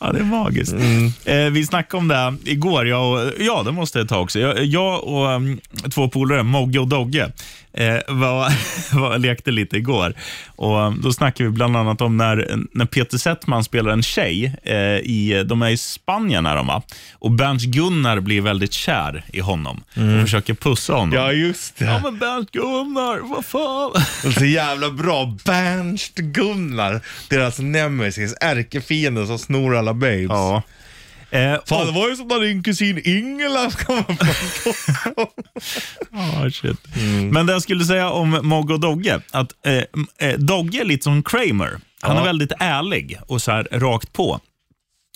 Speaker 2: Ja, det är magiskt.
Speaker 3: Mm.
Speaker 2: Eh, vi snackade om det här igår, jag och, ja det måste jag ta också. Jag, jag och um, två polare, Mogge och Dogge, eh, var, var, lekte lite igår. Och, um, då snackade vi bland annat om när, när Peter Settman spelar en tjej, eh, i, de är i Spanien är de va? Och Bernt Gunnar blir väldigt kär i honom och försöker pussa honom.
Speaker 3: Mm. Ja, just
Speaker 2: Ja,
Speaker 3: det.
Speaker 2: men Bernt Gunnar, vad fan?
Speaker 3: Och så jävla bra. Bernst Gunnar, deras nemesis, ärkefienden som snor alla babes.
Speaker 2: Ja. Eh,
Speaker 3: Fan,
Speaker 2: och-
Speaker 3: det var ju som när din kusin Ingela kom upp från Stockholm.
Speaker 2: Ah, shit. Men det jag skulle säga om Mogge och Dogge, att eh, m- eh, Dogge är lite som Kramer. Han är väldigt ärlig och så här rakt på.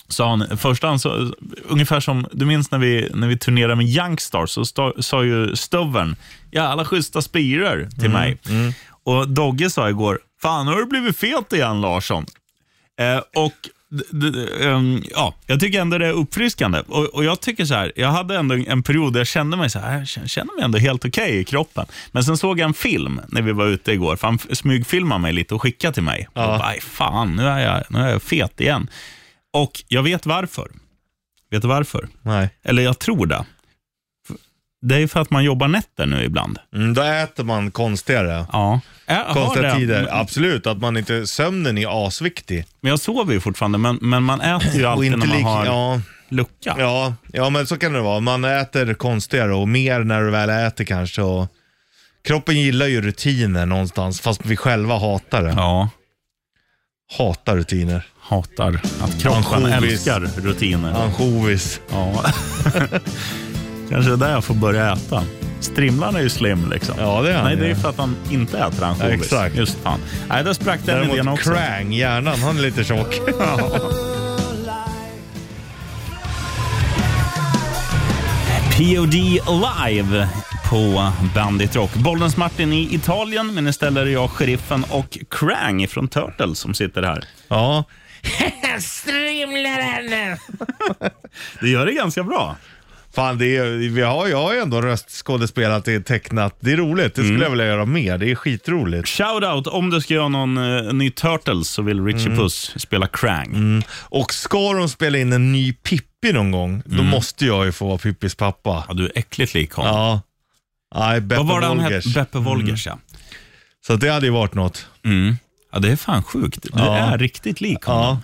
Speaker 2: Så han, först han så, ungefär som, du minns när vi, när vi turnerade med Youngstars, så sta- sa ju Stöveln, ja alla schyssta spiror till mig. Och Dogge sa igår, fan har du blivit fet igen Larsson? Eh, och d- d- ehm, ja, jag tycker ändå det är uppfriskande. Och, och jag tycker så här, jag hade ändå en period där jag kände mig så här, jag känner- känner mig ändå helt okej i kroppen. Men sen såg jag en film när vi var ute igår, för han f- smygfilmade mig lite och skickade till mig. Och bara, "Aj, fan, nu är, jag, nu är jag fet igen. Och jag vet varför. Vet du varför?
Speaker 3: Nej.
Speaker 2: Eller jag tror det. F- Det är för att man jobbar nätter nu ibland.
Speaker 3: Mm, då äter man konstigare.
Speaker 2: Ja. Jag har
Speaker 3: Konstiga
Speaker 2: det. Mm.
Speaker 3: tider,
Speaker 2: Men-
Speaker 3: absolut. Att man inte, sömnen är asviktig.
Speaker 2: Men jag sover ju fortfarande, men, men man äter ju alltid när man
Speaker 3: lik-
Speaker 2: har
Speaker 3: ja,
Speaker 2: lucka.
Speaker 3: ja, ja, men så kan det vara. Man äter konstigare och mer när du väl äter kanske. Och kroppen gillar ju rutiner någonstans, fast vi själva hatar det.
Speaker 2: Ja,
Speaker 3: Hatar rutiner.
Speaker 2: hatar att kroppen
Speaker 3: Ansjovis.
Speaker 2: älskar rutiner.
Speaker 3: Ansjovis.
Speaker 2: Ja. Kanske det är där jag får börja äta. Strimlan är ju slim liksom.
Speaker 3: Ja, det är han
Speaker 2: Nej, det är
Speaker 3: ju.
Speaker 2: för att han inte äter ansjovis.
Speaker 3: Ja, exakt.
Speaker 2: Just fan. Nej, där sprack den idén
Speaker 3: Däremot
Speaker 2: också.
Speaker 3: Krang, hjärnan, han är lite tjock.
Speaker 2: POD Alive på Bandit Rock. Bollens Martin i Italien, men istället är det jag, Sheriffen och Krang från Turtles som sitter här.
Speaker 3: ja.
Speaker 2: Det gör det ganska bra.
Speaker 3: Fan, det är, vi har, jag har ju ändå röstskådespelat i tecknat. Det är roligt. Det skulle
Speaker 2: Mm.
Speaker 3: jag vilja göra mer. Det är skitroligt.
Speaker 2: Shoutout om du ska göra någon eh, ny Turtles så vill Richie
Speaker 3: Mm.
Speaker 2: Puss spela Krang.
Speaker 3: Och ska de spela in en ny Pippi någon gång,
Speaker 2: Mm.
Speaker 3: då måste jag ju få vara Pippis pappa.
Speaker 2: Ja, du är äckligt lik honom.
Speaker 3: Ja. Nej, Beppe
Speaker 2: Vad var det han
Speaker 3: Wolgers. Mm.
Speaker 2: hette? Beppe Wolgers, ja.
Speaker 3: Så det hade ju varit något.
Speaker 2: Ja, det är fan sjukt. Du
Speaker 3: Ja.
Speaker 2: är riktigt lik honom.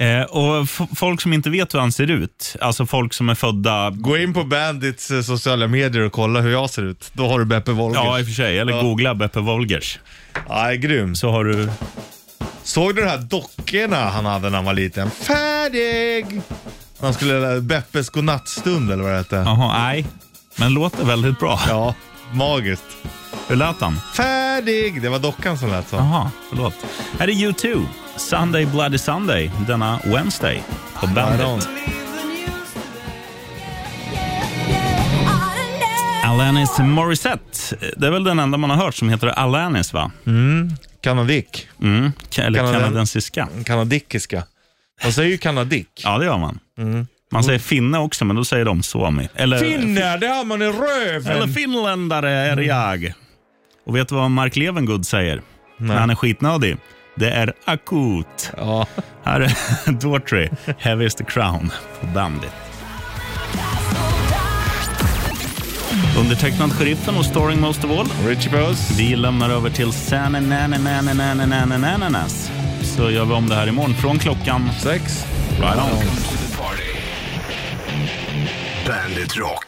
Speaker 2: Eh, och f- folk som inte vet hur han ser ut, alltså folk som är födda
Speaker 3: Gå in på Bandits eh, sociala medier och kolla hur jag ser ut. Då har du Beppe Wolgers.
Speaker 2: Ja, i och för sig. Eller
Speaker 3: Ja.
Speaker 2: googla Beppe Wolgers.
Speaker 3: Nej, grym.
Speaker 2: Så har du...
Speaker 3: Såg du de här dockorna han hade när han var liten? Färdig! Han skulle Beppes godnattstund eller vad det hette.
Speaker 2: Jaha, nej. Men låter väldigt bra.
Speaker 3: Ja, magiskt.
Speaker 2: Hur lät han?
Speaker 3: Färdig! Det var dockan som lät så.
Speaker 2: Jaha, förlåt. Här är U2. Sunday Bloody Sunday denna Wednesday på Bandit. Alanis Morissette. Det är väl den enda man har hört som heter Alanis, va?
Speaker 3: Kanadick.
Speaker 2: Mm. Ka- Eller
Speaker 3: Kanaden-
Speaker 2: kanadensiska.
Speaker 3: Kanadickiska. Man säger ju kanadick.
Speaker 2: Ja, det gör man. Man säger finne också, men då säger de suomi. Eller,
Speaker 3: Finnar, det har man i röven!
Speaker 2: eller finländare är jag. Och vet du vad Mark Levengood säger när han är skitnödig? Det är akut.
Speaker 3: Ja.
Speaker 2: Här är Daughtry, Heavy is the Crown på Bandit. Undertecknad Sheriffen och Storing Most of All.
Speaker 3: Richie Puss.
Speaker 2: Vi lämnar över till Sanne Nanne Nanne Nanne Nanne Nananas. Så gör vi om det här imorgon från klockan
Speaker 3: Sex.
Speaker 2: right on.
Speaker 1: Bandit Rock.